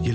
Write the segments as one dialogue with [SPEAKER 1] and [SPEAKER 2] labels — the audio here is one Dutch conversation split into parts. [SPEAKER 1] Je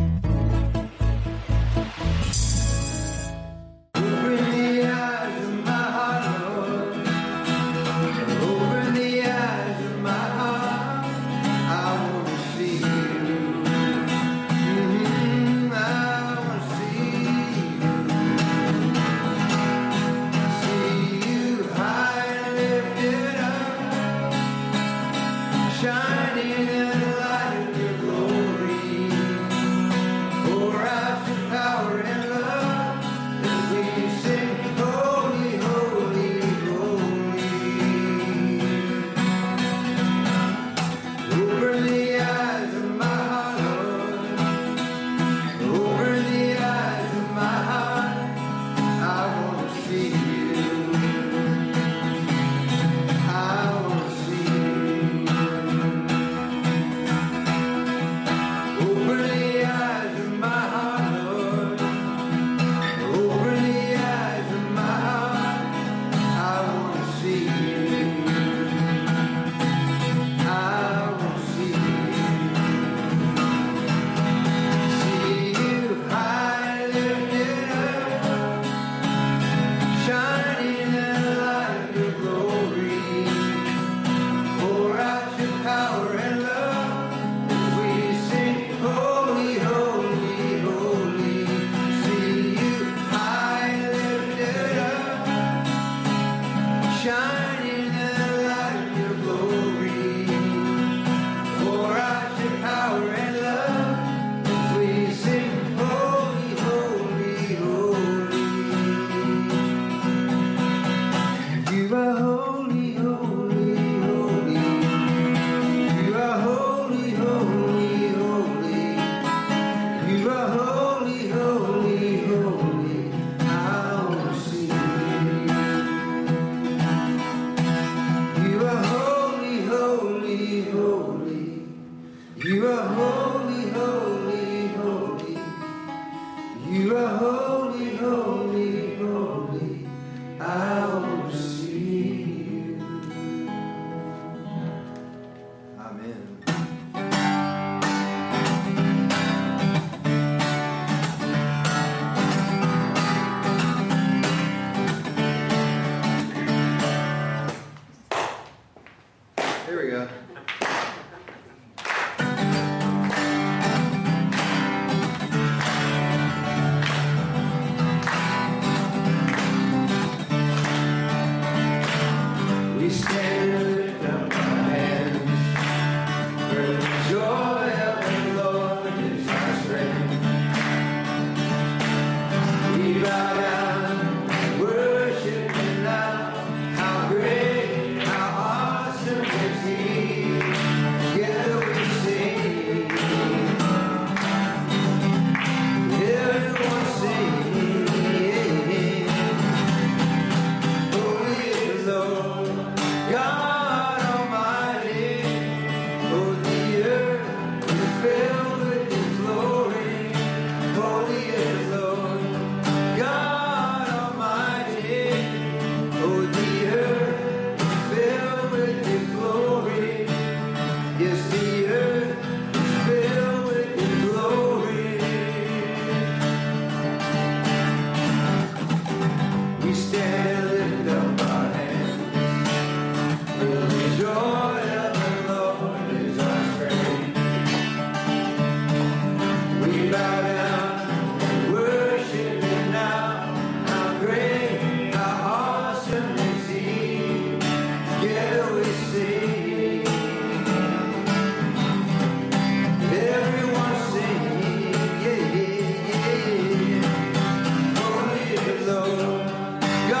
[SPEAKER 2] Oh, Oh, Oh, Lord, God. Oh,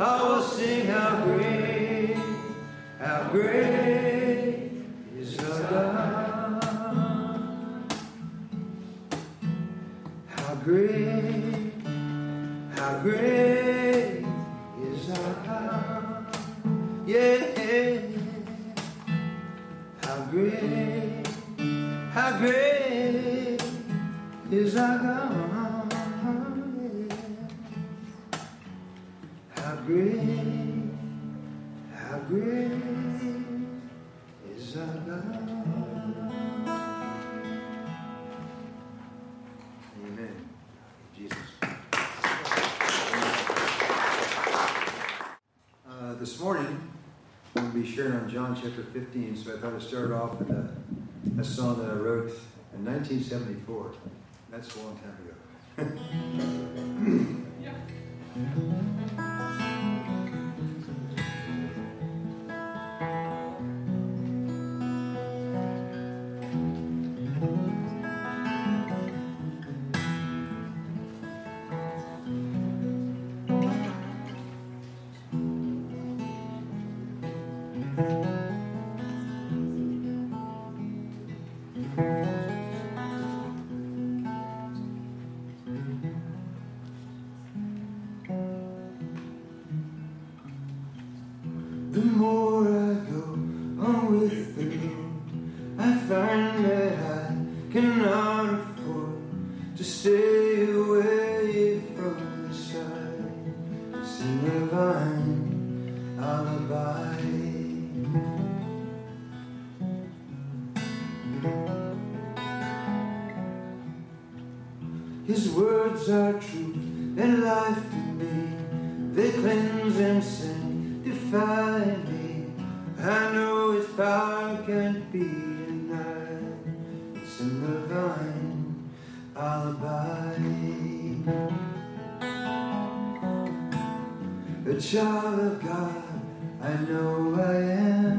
[SPEAKER 2] Oh, is our God. Uh, be sharing on John chapter 15, so I thought I'd start off with a, a song that I wrote in 1974. That's a long time ago. The more I go on with the moon, I find that I cannot afford to stay away from the sun. It's a divine alibi. His words are truth and life to me. They cleanse and sanctify me. I know His power can't be denied. It's in the vine alibi. A child of God, I know I am.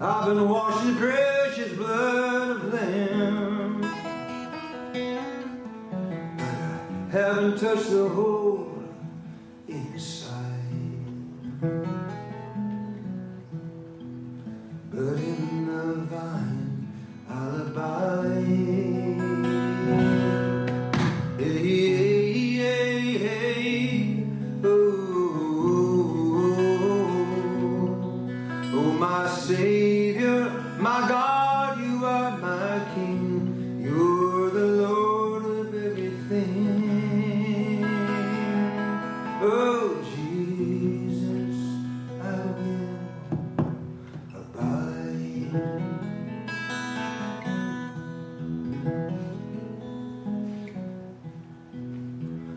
[SPEAKER 2] I've been washed in the precious blood of Lamb. But I haven't touched the whole inside. But in the vine alibi. Hey, hey, hey, oh, oh, oh, oh, my Savior, my God, you are my King. You're the Lord of everything. Oh, Jesus, I will abide.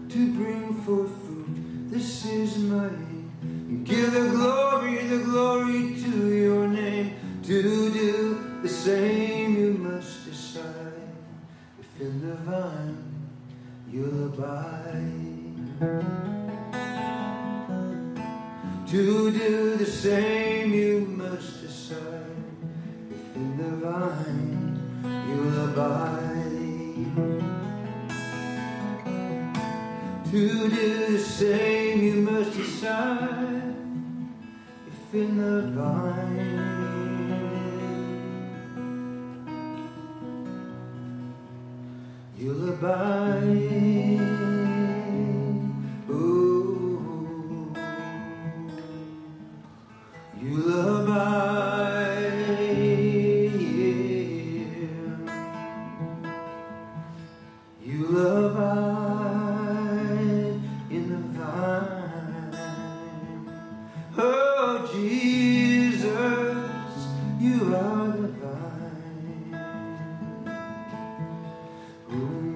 [SPEAKER 2] to bring forth fruit. This is my aim. Give the glory, the glory to your name. To do the same, you must decide. If in the vine you'll abide. To do the same, you must decide. If in the vine you'll abide. To do the same, you must decide if in the vine you'll abide. Ooh. You'll abide. Yeah. You love I in the vine. Oh, Jesus, you are the vine. Ooh.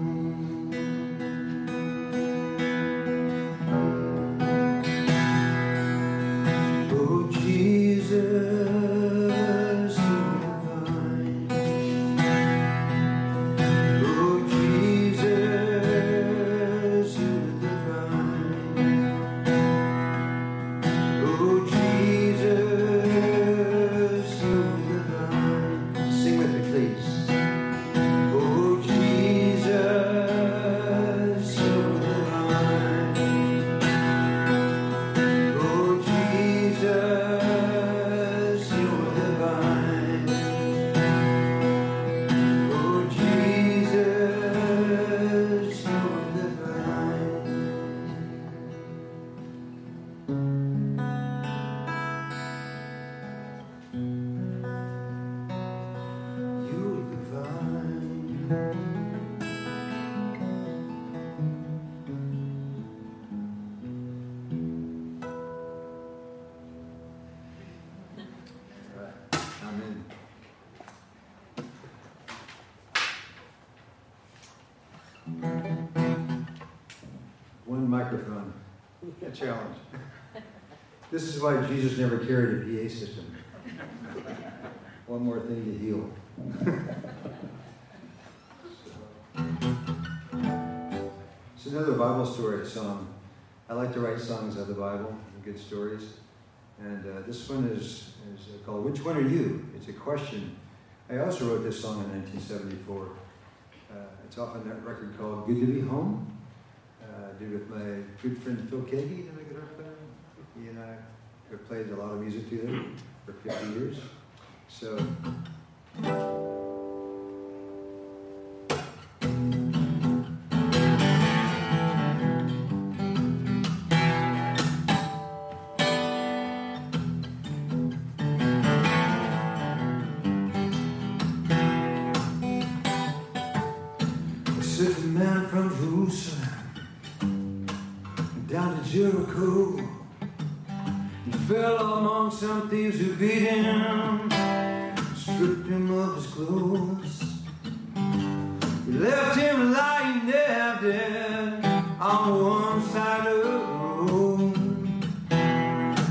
[SPEAKER 2] Oh, Jesus, you are the vine. Oh Jesus, you're divine. Oh Jesus, you're divine. Sing with me, please. Oh Jesus, you're divine. Oh Jesus, you're divine. Oh Jesus, you're divine. You're divine. All right, Amen. One microphone. A challenge. This is why Jesus never carried a PA system. One more thing to heal. It's another Bible story song. I like to write songs out of the Bible, good stories. And uh, this one is, is uh, called Which One Are You? It's a question. I also wrote this song in 1974. Uh, it's off on that record called Good to Be Home. Uh, I did with my good friend Phil Kagi, the guitar player. He and I have played a lot of music together for 50 years. So A certain man from Jerusalem down to Jericho. He fell among some thieves who beat him, stripped him of his clothes. They left him lying there dead on one side of the road.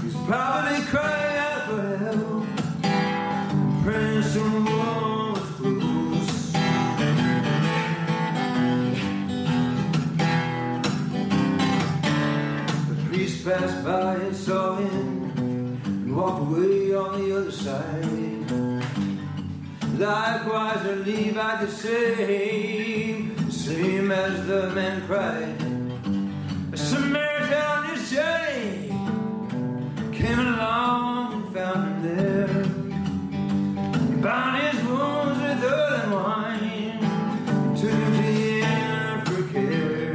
[SPEAKER 2] He's probably crying out for help, praying someone was close. The priest passed by and saw him and walked away on the other side. Likewise, a Levite the same, the same as the man cried. A Samaritan on his journey came along and found him there. He bound his wounds with oil and wine, and took him to the inn for care.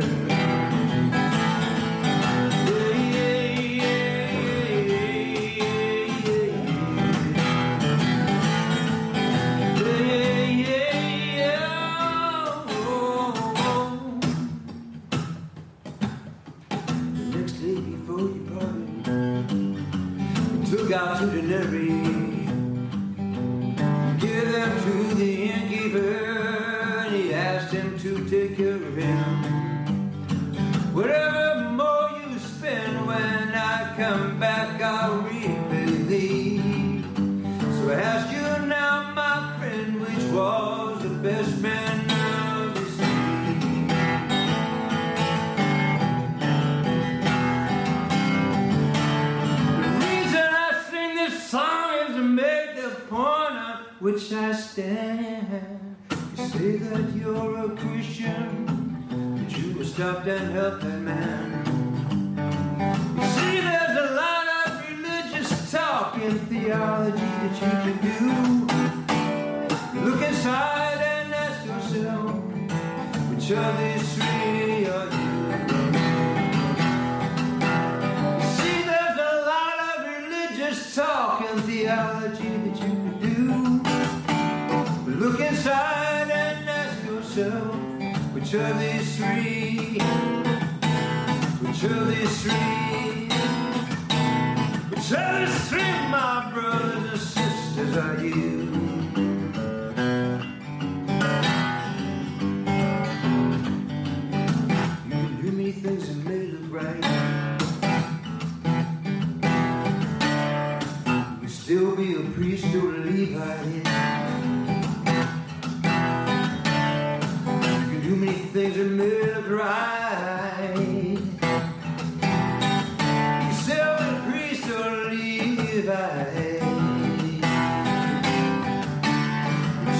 [SPEAKER 2] Out to the delivery, give them to the innkeeper, and he asked him to take care of him. Whatever more you spend when I come back, I'll repay thee. So I ask you now, my friend, which was the best man of the sea? The reason I sing this song is to make the point on which I stand. You say that you're a Christian, but you were stopped and helped that man. You see, there's a lot of religious talk and theology that you can do. Look inside and ask yourself, which of these three are you? See, there's a lot of religious talk and theology that you could do. But look inside and ask yourself, which of these three, which of these three, which of these three, my brothers and sisters, are you? You can do me things and make it right. would still be a priest or a Levite. You can do many things that made it right. You still be a priest or a Levite.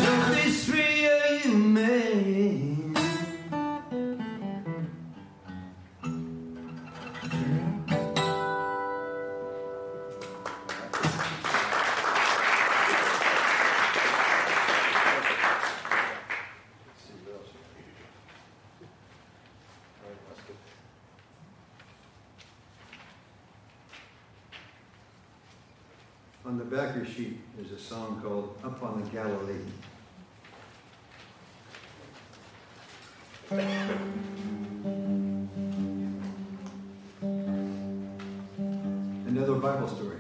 [SPEAKER 2] So these three are you made. See what else. All right, that's good. On the back of your sheet is a song called Up on the Galilee. Another Bible story.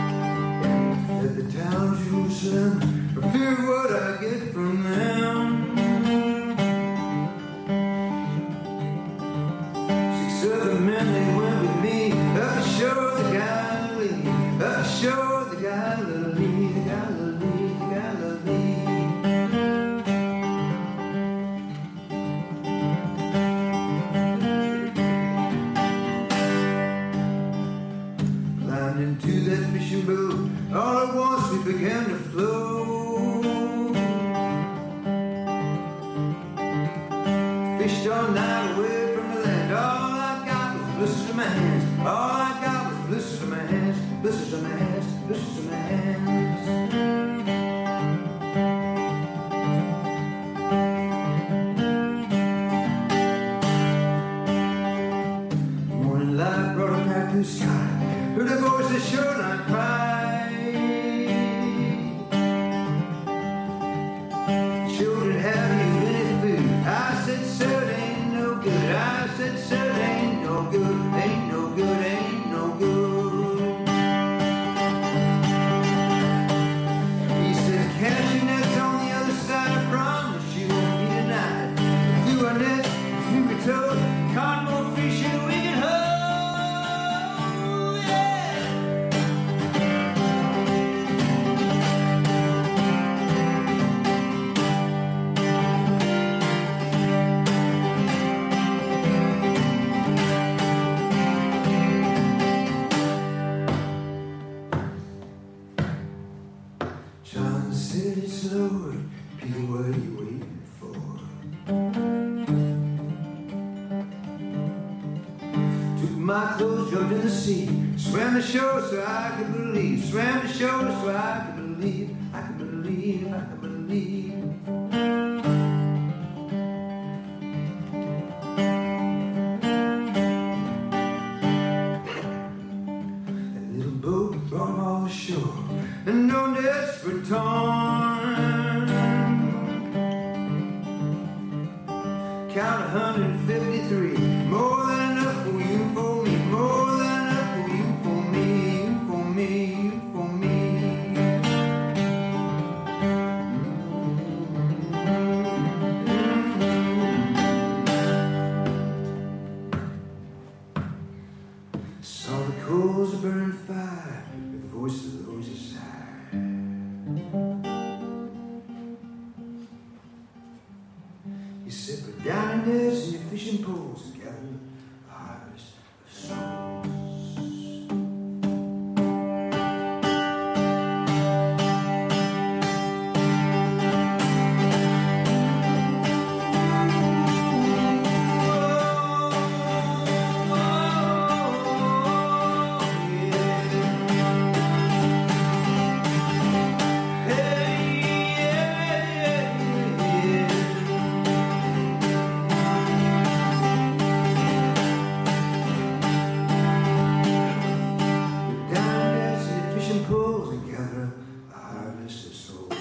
[SPEAKER 2] at the town Jerusalem. I fear what I get from them. Six other men they went with me up the shore of the Galilee, up the shore of the Galilee, the Galilee, the Galilee. climbed into that fishing boat. All at once we began to float. Fished all night away from the land. All I got was blisters in my hands. All I got was blisters in my hands. Blisters in my hands. Blisters in my hands. Morning light brought a crack blue sky. Heard a voice that sure not cry. Children, have you any food? I said, sir, it ain't no good. I said, sir, it ain't no good. Ain't no good. Ain't no good. He said, cashew nets on the other side. I promise you won't be denied. Through our nets, through your toes, caught more fish than we can hold. Yeah. John said it's Lord, Peter, what are you waiting for? Took my clothes, jumped in the sea, swam the shore so I could believe, swam the shore so I could believe, I could believe, I could believe. That little boat brought 'em all ashore, and no nets were torn. Count 153, more than enough for you, for me, more than enough for you, for me, you, for me, you, for me. Saw the coals of burning fire, the voice of those aside. You sit with down in this in your fishing poles and gather the harvest of souls. Down as the fishing pools and gather a harvest of souls.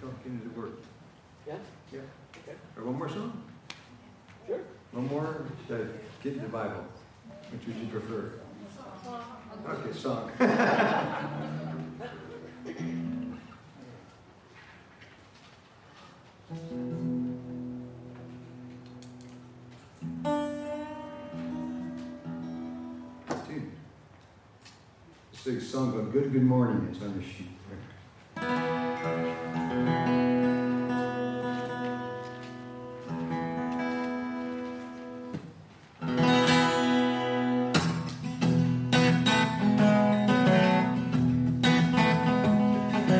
[SPEAKER 2] Don't get into work.
[SPEAKER 3] Yeah?
[SPEAKER 2] Yeah.
[SPEAKER 3] Okay.
[SPEAKER 2] Or one more song?
[SPEAKER 3] Sure.
[SPEAKER 2] One more, uh, get in the Bible. Which would you prefer? Okay, song. Dude. This is a song called Good Good Morning. It's on the sheet. there.
[SPEAKER 3] Good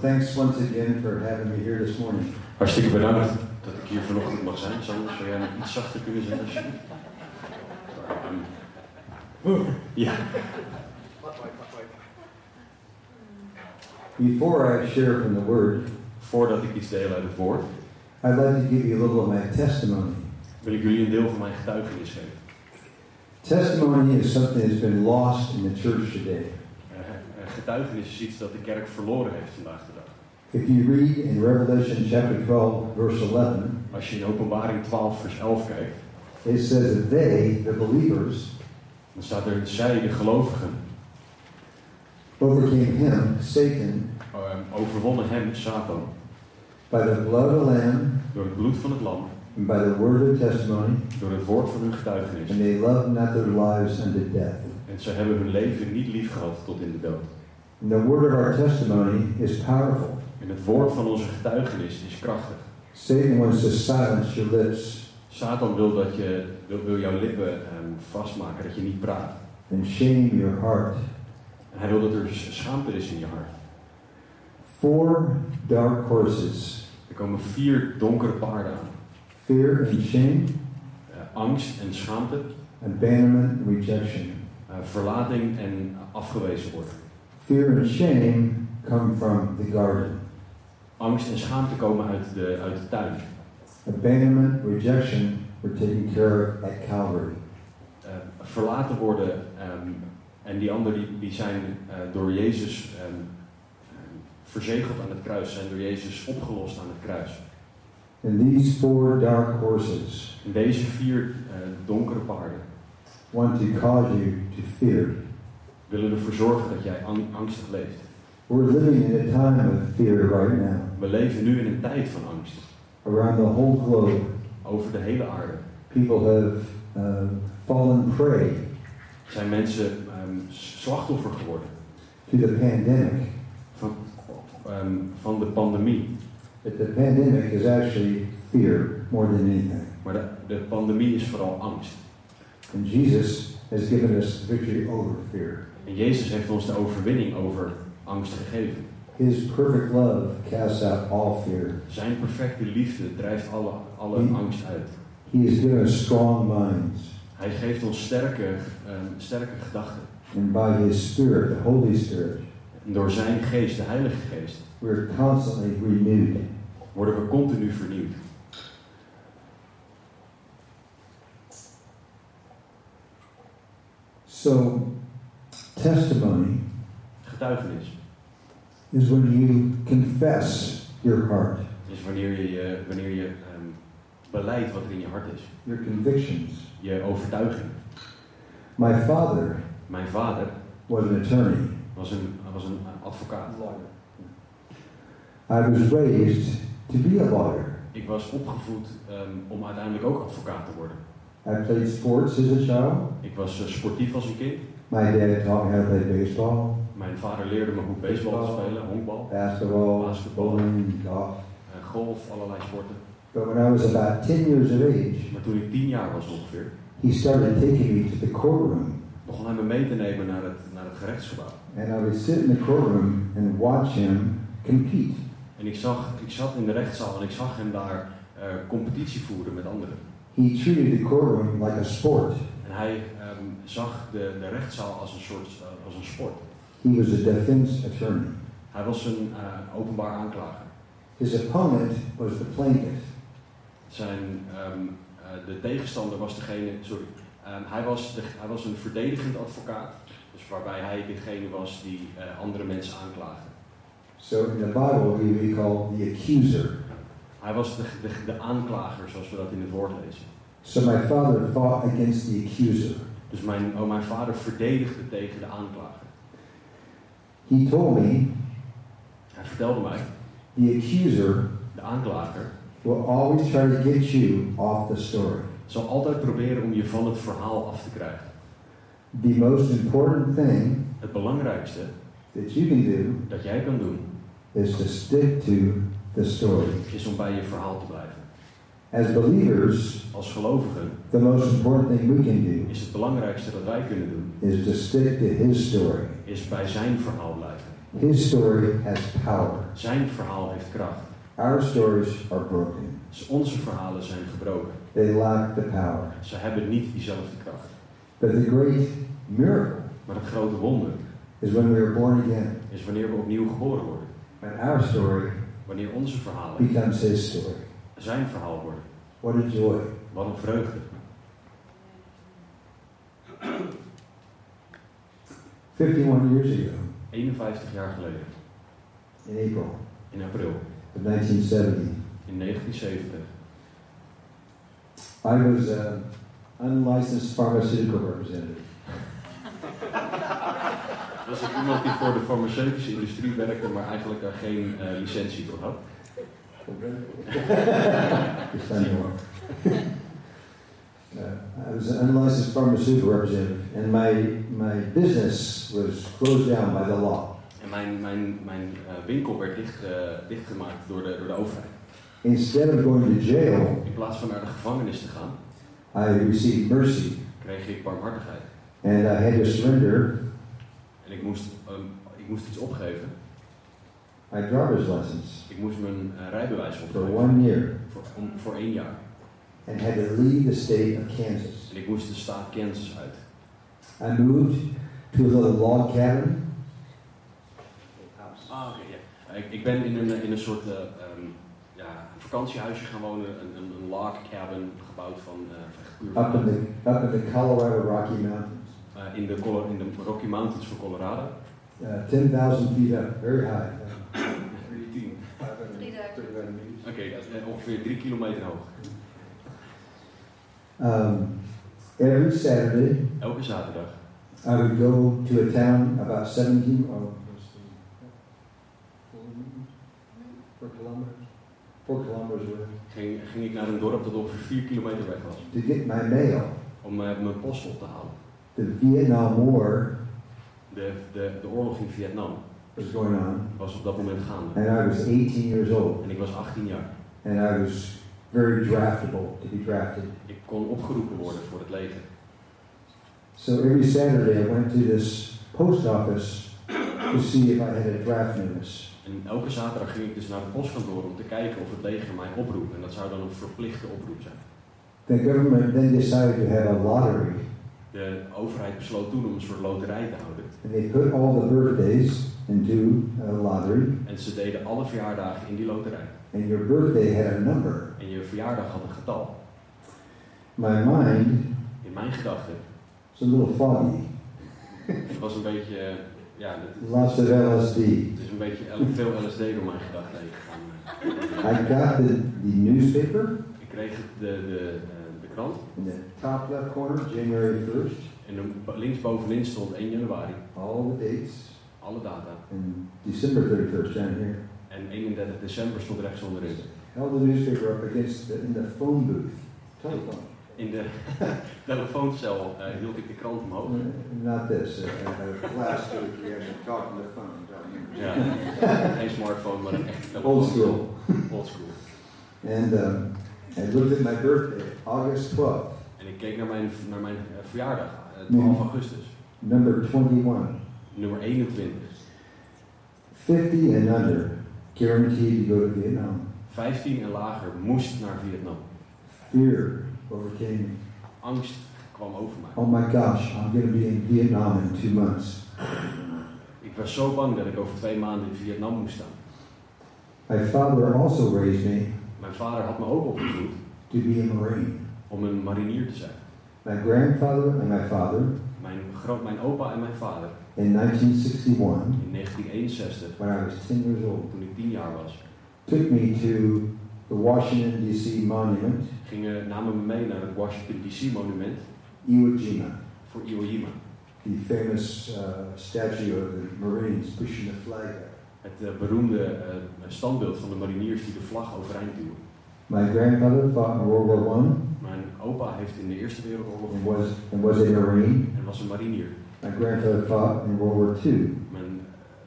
[SPEAKER 4] thanks once again for having me here this morning.
[SPEAKER 5] Hartstikke bedankt dat ik hier vanochtend mag zijn. Sander, zou jij nog iets zachter kunnen zijn? alsjeblieft? Ehm, oeh, Ja,
[SPEAKER 4] Before I share from the Word,
[SPEAKER 5] voordat ik iets deel uit het woord,
[SPEAKER 4] I'd like to give you a little of my testimony.
[SPEAKER 5] wil ik jullie een deel van mijn getuigenis geven.
[SPEAKER 4] Testimony is something that's been lost in the church today.
[SPEAKER 5] Eh, eh, Getuigenis is iets dat de kerk verloren heeft vandaag de dag.
[SPEAKER 4] If you read in Revelation chapter 12, verse 11,
[SPEAKER 5] Als je in Openbaring 12, vers 11 kijkt,
[SPEAKER 4] it says that they, the believers,
[SPEAKER 5] dan staat er: Zij, de gelovigen,
[SPEAKER 4] overcame him, Satan,
[SPEAKER 5] eh, overwonnen hem, Satan,
[SPEAKER 4] by the blood of the Lamb
[SPEAKER 5] door het bloed van het lam,
[SPEAKER 4] and by the word of their testimony,
[SPEAKER 5] door het woord van hun getuigenis.
[SPEAKER 4] and they loved not their lives unto death.
[SPEAKER 5] En ze hebben hun leven niet lief gehad tot in de dood.
[SPEAKER 4] And the word of our testimony is powerful.
[SPEAKER 5] En het woord van onze getuigenis is krachtig.
[SPEAKER 4] Satan wants to silence your lips
[SPEAKER 5] Satan wil, dat je, wil, wil jouw lippen ehm, vastmaken, dat je niet praat.
[SPEAKER 4] and shame your heart.
[SPEAKER 5] En hij wil dat er s- schaamte is in je hart.
[SPEAKER 4] Four dark horses
[SPEAKER 5] Er komen vier donkere paarden aan.
[SPEAKER 4] fear and shame,
[SPEAKER 5] Eh, angst en schaamte,
[SPEAKER 4] abandonment and rejection.
[SPEAKER 5] eh, verlating en afgewezen worden.
[SPEAKER 4] Fear and shame come from the garden.
[SPEAKER 5] Angst en schaamte komen uit de, uit de tuin.
[SPEAKER 4] Abandonment, rejection were taken care of at Calvary.
[SPEAKER 5] Eh, verlaten worden ehm, en die anderen die, die zijn eh, door Jezus ehm, ehm, verzegeld aan het kruis, zijn door Jezus opgelost aan het kruis.
[SPEAKER 4] And these four dark horses
[SPEAKER 5] En deze vier eh, donkere paarden
[SPEAKER 4] want to cause you to fear.
[SPEAKER 5] willen ervoor zorgen dat jij ang- angstig leeft.
[SPEAKER 4] We're living in a time of fear right now
[SPEAKER 5] We leven nu in een tijd van angst.
[SPEAKER 4] around the whole globe.
[SPEAKER 5] Over de hele aarde
[SPEAKER 4] People have uh, fallen prey
[SPEAKER 5] zijn mensen ehm, slachtoffer geworden
[SPEAKER 4] to the pandemic,
[SPEAKER 5] van, ehm, van de pandemie.
[SPEAKER 4] but the pandemic is actually fear more than anything.
[SPEAKER 5] Maar de, de pandemie is vooral angst.
[SPEAKER 4] And Jesus has given us victory over fear.
[SPEAKER 5] En Jezus heeft ons de overwinning over angst gegeven.
[SPEAKER 4] His perfect love casts out all fear.
[SPEAKER 5] Zijn perfecte liefde drijft alle, alle
[SPEAKER 4] Hmm.
[SPEAKER 5] angst uit.
[SPEAKER 4] He has given us strong minds,
[SPEAKER 5] Hij geeft ons sterke, ehm, sterke gedachten.
[SPEAKER 4] and by His Spirit, the Holy Spirit,
[SPEAKER 5] En door zijn geest, de Heilige Geest,
[SPEAKER 4] we're constantly renewed.
[SPEAKER 5] worden we continu vernieuwd.
[SPEAKER 4] So, testimony
[SPEAKER 5] Getuigenis
[SPEAKER 4] is when you confess your heart,
[SPEAKER 5] is wanneer je, je- wanneer je ehm beleidt wat er in je hart is.
[SPEAKER 4] your convictions.
[SPEAKER 5] Je overtuiging.
[SPEAKER 4] My father
[SPEAKER 5] Mijn vader
[SPEAKER 4] was an attorney.
[SPEAKER 5] was een, was een advocaat.
[SPEAKER 4] I was raised to be a lawyer.
[SPEAKER 5] Ik was opgevoed ehm, om uiteindelijk ook advocaat te worden.
[SPEAKER 4] I played sports as a child.
[SPEAKER 5] Ik was eh, sportief als een kind.
[SPEAKER 4] My dad taught me how to play baseball,
[SPEAKER 5] Mijn vader leerde me hoe baseball te spelen, honkbal,
[SPEAKER 4] basketball,
[SPEAKER 5] Basketball.
[SPEAKER 4] bowling, golf.
[SPEAKER 5] eh, golf, allerlei sporten.
[SPEAKER 4] But when I was about 10 years of age,
[SPEAKER 5] Maar toen ik tien jaar was ongeveer,
[SPEAKER 4] he started taking me to the courtroom.
[SPEAKER 5] begon hij me mee te nemen naar het, naar het gerechtsgebouw.
[SPEAKER 4] And I would sit in the courtroom and watch him compete.
[SPEAKER 5] En ik, zag, ik zat in de rechtszaal en ik zag hem daar eh, competitie voeren met anderen.
[SPEAKER 4] He treated the courtroom like a sport.
[SPEAKER 5] En hij ehm, zag de, de rechtszaal als een soort eh, als een sport.
[SPEAKER 4] He was a defense attorney.
[SPEAKER 5] Hij was een eh, openbaar aanklager.
[SPEAKER 4] His opponent was the plaintiff.
[SPEAKER 5] Zijn, ehm, eh, de tegenstander was degene, sorry, ehm, hij, was de, hij was een verdedigend advocaat, dus waarbij hij degene was die eh, andere mensen aanklaagde.
[SPEAKER 4] So in the Bible, he would be called the accuser.
[SPEAKER 5] Hij was de, de, de aanklager, zoals we dat in het woord lezen.
[SPEAKER 4] So my father fought against the accuser.
[SPEAKER 5] Dus mijn, oh, mijn vader verdedigde tegen de aanklager.
[SPEAKER 4] He told me
[SPEAKER 5] Hij vertelde mij,
[SPEAKER 4] the accuser
[SPEAKER 5] de aanklager
[SPEAKER 4] will always try to get you off the story.
[SPEAKER 5] zal altijd proberen om je van het verhaal af te krijgen.
[SPEAKER 4] The most important thing
[SPEAKER 5] Het belangrijkste
[SPEAKER 4] that you can do
[SPEAKER 5] dat jij kan doen,
[SPEAKER 4] is to stick to the story.
[SPEAKER 5] is om bij je verhaal te blijven.
[SPEAKER 4] As believers,
[SPEAKER 5] Als gelovigen
[SPEAKER 4] the most important thing we can do
[SPEAKER 5] is het belangrijkste dat wij kunnen doen,
[SPEAKER 4] is to stick to his story.
[SPEAKER 5] is bij zijn verhaal blijven.
[SPEAKER 4] His story has power.
[SPEAKER 5] Zijn verhaal heeft kracht.
[SPEAKER 4] Our stories are broken.
[SPEAKER 5] Dus onze verhalen zijn gebroken.
[SPEAKER 4] They lack the power.
[SPEAKER 5] Ze hebben niet diezelfde kracht.
[SPEAKER 4] But the great miracle
[SPEAKER 5] Maar het grote wonder
[SPEAKER 4] is when we are born again,
[SPEAKER 5] is wanneer we opnieuw geboren worden.
[SPEAKER 4] when our story
[SPEAKER 5] Wanneer onze verhalen
[SPEAKER 4] becomes His story.
[SPEAKER 5] zijn verhaal worden.
[SPEAKER 4] What a joy.
[SPEAKER 5] Wat een vreugde.
[SPEAKER 4] Fifty-one years ago,
[SPEAKER 5] 51 jaar geleden,
[SPEAKER 4] in April
[SPEAKER 5] in april,
[SPEAKER 4] of 1970,
[SPEAKER 5] in 1970,
[SPEAKER 4] I was an uh, unlicensed pharmaceutical representative.
[SPEAKER 5] was ik iemand die voor de farmaceutische industrie werkte, maar eigenlijk daar geen eh, licentie voor had.
[SPEAKER 4] It's funny. Uh, I was an unlicensed pharmaceutical representative, and my my business was closed down by the law.
[SPEAKER 5] En mijn, mijn, mijn eh, winkel werd dicht, eh, dichtgemaakt door de, door de overheid.
[SPEAKER 4] Instead of going to jail,
[SPEAKER 5] In plaats van naar de gevangenis te gaan,
[SPEAKER 4] I received mercy,
[SPEAKER 5] kreeg ik barmhartigheid.
[SPEAKER 4] and I had to surrender
[SPEAKER 5] En ik moest, ehm, ik moest iets opgeven.
[SPEAKER 4] my driver's license
[SPEAKER 5] Ik moest mijn eh, rijbewijs
[SPEAKER 4] for
[SPEAKER 5] opgeven.
[SPEAKER 4] one year,
[SPEAKER 5] Voor, om, voor één jaar.
[SPEAKER 4] and had to leave the state of Kansas.
[SPEAKER 5] En ik moest de staat Kansas uit.
[SPEAKER 4] I moved to a little log cabin.
[SPEAKER 5] Ah, oké, ja. Ik, ik ben in een, in een soort eh, ehm, ja, vakantiehuisje gaan wonen, een, een, een log cabin gebouwd van eh, puur
[SPEAKER 4] Up in the up in the Colorado Rocky Mountains,
[SPEAKER 5] Eh, in, de, Colo- in de Rocky Mountains van Colorado.
[SPEAKER 4] uh, ten thousand feet up, very high.
[SPEAKER 5] 310.
[SPEAKER 6] Drieduizend.
[SPEAKER 5] Oké, eh, ongeveer drie kilometer hoog.
[SPEAKER 4] Um, every Saturday,
[SPEAKER 5] Elke zaterdag
[SPEAKER 4] I would go to a town about oh, 17 or four kilometers, four kilometers away,
[SPEAKER 5] ging, ging ik naar een dorp dat ongeveer vier kilometer weg was.
[SPEAKER 4] to get my mail.
[SPEAKER 5] Om eh, mijn post op te halen.
[SPEAKER 4] The Vietnam War
[SPEAKER 5] De, de, de oorlog in Vietnam
[SPEAKER 4] was going on,
[SPEAKER 5] was op dat moment gaande.
[SPEAKER 4] and I was 18 years old,
[SPEAKER 5] En ik was 18 jaar.
[SPEAKER 4] and I was very draftable to be drafted.
[SPEAKER 5] Ik kon opgeroepen worden voor het leger.
[SPEAKER 4] So every Saturday, I went to this post office to see if I had a draft notice.
[SPEAKER 5] En elke zaterdag ging ik dus naar het postkantoor om te kijken of het leger mij oproept. En dat zou dan een verplichte oproep zijn.
[SPEAKER 4] The government then decided to have a lottery,
[SPEAKER 5] De overheid besloot toen om een soort loterij te houden.
[SPEAKER 4] and they put all the birthdays into a lottery,
[SPEAKER 5] En ze deden alle verjaardagen in die loterij.
[SPEAKER 4] and your birthday had a number.
[SPEAKER 5] En je verjaardag had een getal.
[SPEAKER 4] My mind
[SPEAKER 5] In mijn gedachten
[SPEAKER 4] is a little foggy.
[SPEAKER 5] het was een beetje... eh, Ja, het-
[SPEAKER 4] Lots of LSD.
[SPEAKER 5] het is een beetje L- veel LSD door mijn gedachten heen
[SPEAKER 4] I
[SPEAKER 5] gegaan.
[SPEAKER 4] got the, the newspaper
[SPEAKER 5] Ik kreeg het- de, de, eh, de krant.
[SPEAKER 4] in the top left corner, January 1st,
[SPEAKER 5] En dan bo- linksbovenin stond 1 januari.
[SPEAKER 4] all the dates,
[SPEAKER 5] Alle data.
[SPEAKER 4] and December 31st down here.
[SPEAKER 5] En 31 december stond rechts onderin.
[SPEAKER 4] Held the newspaper up against the, in the phone booth, telephone.
[SPEAKER 5] In de telefooncel eh, hield ik de krant omhoog.
[SPEAKER 4] Uh, Not this, uh, uh, last week you had to talk on the phone down
[SPEAKER 5] Ja, geen smartphone, maar een echt
[SPEAKER 4] here.
[SPEAKER 5] telefoon.
[SPEAKER 4] Old school.
[SPEAKER 5] Old school.
[SPEAKER 4] And um, I looked at my birthday, August 12th,
[SPEAKER 5] En ik keek naar mijn, naar mijn eh, verjaardag, eh,
[SPEAKER 4] Nee.
[SPEAKER 5] 12 augustus.
[SPEAKER 4] number 21.
[SPEAKER 5] Nummer 21.
[SPEAKER 4] 50 and under, guaranteed to go to Vietnam.
[SPEAKER 5] 15 en lager moest naar Vietnam.
[SPEAKER 4] Fear overcame me.
[SPEAKER 5] Angst kwam over mij.
[SPEAKER 4] Oh my gosh, I'm going to be in Vietnam in two months.
[SPEAKER 5] Ik was zo bang dat ik over twee maanden in Vietnam moest staan.
[SPEAKER 4] My father also raised me
[SPEAKER 5] Mijn vader had me ook opgevoed
[SPEAKER 4] to be a Marine.
[SPEAKER 5] om een marinier te zijn.
[SPEAKER 4] My grandfather and my father,
[SPEAKER 5] Mijn, groot, mijn opa en mijn vader
[SPEAKER 4] in 1961,
[SPEAKER 5] in 1961,
[SPEAKER 4] when I was 10 years old,
[SPEAKER 5] toen ik 10 jaar was,
[SPEAKER 4] took me to the Washington, D.C. monument,
[SPEAKER 5] gingen, namen me mee naar het Washington DC monument
[SPEAKER 4] Iwo Jima,
[SPEAKER 5] voor Iwo Jima.
[SPEAKER 4] the famous uh, statue of the Marines pushing the flag up.
[SPEAKER 5] Het eh, beroemde eh, standbeeld van de mariniers die de vlag overeind duwen.
[SPEAKER 4] My grandfather fought in World War I
[SPEAKER 5] Mijn opa heeft in de Eerste Wereldoorlog
[SPEAKER 4] and was, and was a Marine.
[SPEAKER 5] en was een marinier.
[SPEAKER 4] My grandfather fought in World War II
[SPEAKER 5] Mijn,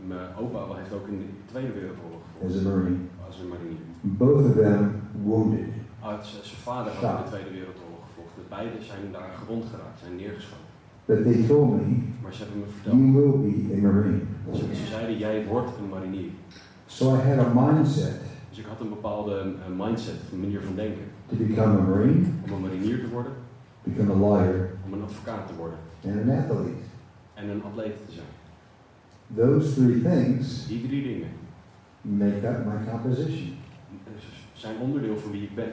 [SPEAKER 5] mijn opa heeft ook in de Tweede Wereldoorlog
[SPEAKER 4] as a
[SPEAKER 5] gevochten
[SPEAKER 4] Marine.
[SPEAKER 5] als een marinier.
[SPEAKER 4] Both of them wounded.
[SPEAKER 5] eh, Ah, z- zijn vader had in de Tweede Wereldoorlog gevochten. Beide zijn daar gewond geraakt, zijn neergeschoten.
[SPEAKER 4] But they told me,
[SPEAKER 5] Maar ze hebben me verteld.
[SPEAKER 4] you will be a Marine.
[SPEAKER 5] Ze ze zeiden, jij wordt een marinier.
[SPEAKER 4] So I had a mindset
[SPEAKER 5] Dus ik had een bepaalde eh, mindset, een manier van denken.
[SPEAKER 4] to become a Marine,
[SPEAKER 5] Om een marinier te worden,
[SPEAKER 4] become a lawyer,
[SPEAKER 5] om een advocaat te worden
[SPEAKER 4] and an athlete.
[SPEAKER 5] en een atleet te zijn.
[SPEAKER 4] Those three things
[SPEAKER 5] Die drie dingen
[SPEAKER 4] make up my composition.
[SPEAKER 5] eh, zijn onderdeel van wie ik ben.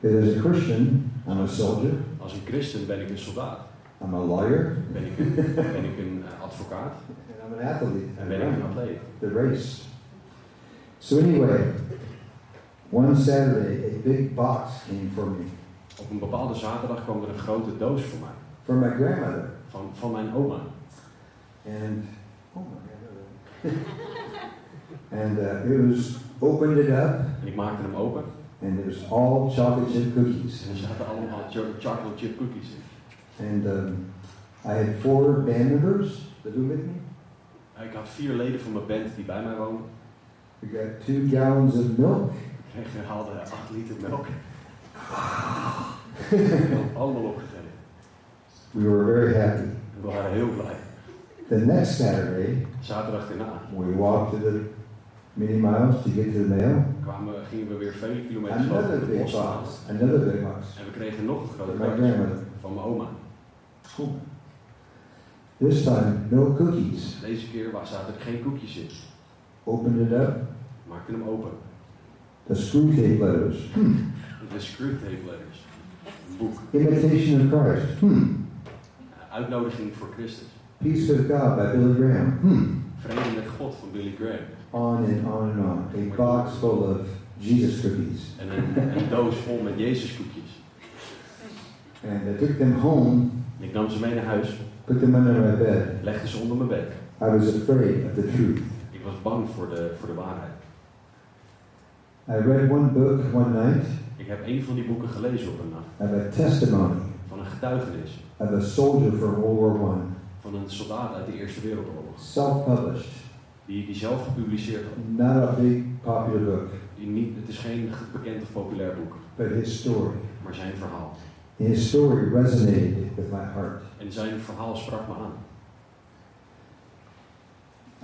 [SPEAKER 4] That as a Christian, I'm a soldier,
[SPEAKER 5] Als een christen ben ik een soldaat,
[SPEAKER 4] I'm a lawyer,
[SPEAKER 5] ben ik een, ben ik een eh, advocaat
[SPEAKER 4] and I'm an athlete.
[SPEAKER 5] en ben ik een atleet.
[SPEAKER 4] the race. So anyway, one Saturday, a big box came for me
[SPEAKER 5] Op een bepaalde zaterdag kwam er een grote doos voor mij,
[SPEAKER 4] from my grandmother,
[SPEAKER 5] van, van mijn oma.
[SPEAKER 4] and oh my grandmother, and uh, it was opened it up,
[SPEAKER 5] En ik maakte hem open
[SPEAKER 4] and it was all chocolate chip cookies,
[SPEAKER 5] en er zaten allemaal cho- chocolate chip cookies in.
[SPEAKER 4] and um, I had four band members that were with me.
[SPEAKER 5] Ik had vier leden van mijn band die bij mij woonden.
[SPEAKER 4] We got two gallons of milk,
[SPEAKER 5] Ik kreeg en haalde acht liter melk. Allemaal opgegeten.
[SPEAKER 4] we were very happy.
[SPEAKER 5] En we waren heel blij.
[SPEAKER 4] The next Saturday,
[SPEAKER 5] Zaterdag daarna
[SPEAKER 4] we walked to the many miles to get to the mail.
[SPEAKER 5] kwamen, gingen we weer vele kilometers
[SPEAKER 4] Another
[SPEAKER 5] over de
[SPEAKER 4] big
[SPEAKER 5] bosstraat.
[SPEAKER 4] box. Another big box.
[SPEAKER 5] En we kregen nog een grote
[SPEAKER 4] But my
[SPEAKER 5] doos
[SPEAKER 4] grandmother.
[SPEAKER 5] van mijn oma.
[SPEAKER 4] Cool. This time, no cookies.
[SPEAKER 5] Deze keer wa- zaten er geen koekjes in.
[SPEAKER 4] Opened it up.
[SPEAKER 5] Maakte hem open.
[SPEAKER 4] The screw tape letters.
[SPEAKER 5] De screwtape letters. Een boek.
[SPEAKER 4] Imitation of Christ. Hmm.
[SPEAKER 5] Eh, Uitnodiging voor Christus.
[SPEAKER 4] Peace with God by Billy Graham. Hmm.
[SPEAKER 5] Vrede met God van Billy Graham.
[SPEAKER 4] On and on and on. A box full of Jesus cookies.
[SPEAKER 5] En een, een doos vol met Jezus koekjes.
[SPEAKER 4] And I took them home,
[SPEAKER 5] Ik nam ze mee naar huis,
[SPEAKER 4] put them under my bed.
[SPEAKER 5] legde ze onder mijn bed.
[SPEAKER 4] I was afraid of the truth.
[SPEAKER 5] Ik was bang voor de, voor de waarheid.
[SPEAKER 4] I read one book one night
[SPEAKER 5] Ik heb een van die boeken gelezen op een nacht.
[SPEAKER 4] of a testimony
[SPEAKER 5] Van een getuigenis.
[SPEAKER 4] of a soldier from World War One,
[SPEAKER 5] Van een soldaat uit de Eerste Wereldoorlog.
[SPEAKER 4] self-published,
[SPEAKER 5] Die, die zelf gepubliceerd had.
[SPEAKER 4] not a big popular book,
[SPEAKER 5] Die niet, het is geen bekend of populair boek.
[SPEAKER 4] but his story.
[SPEAKER 5] Maar zijn verhaal.
[SPEAKER 4] His story resonated with my heart.
[SPEAKER 5] En zijn verhaal sprak me aan.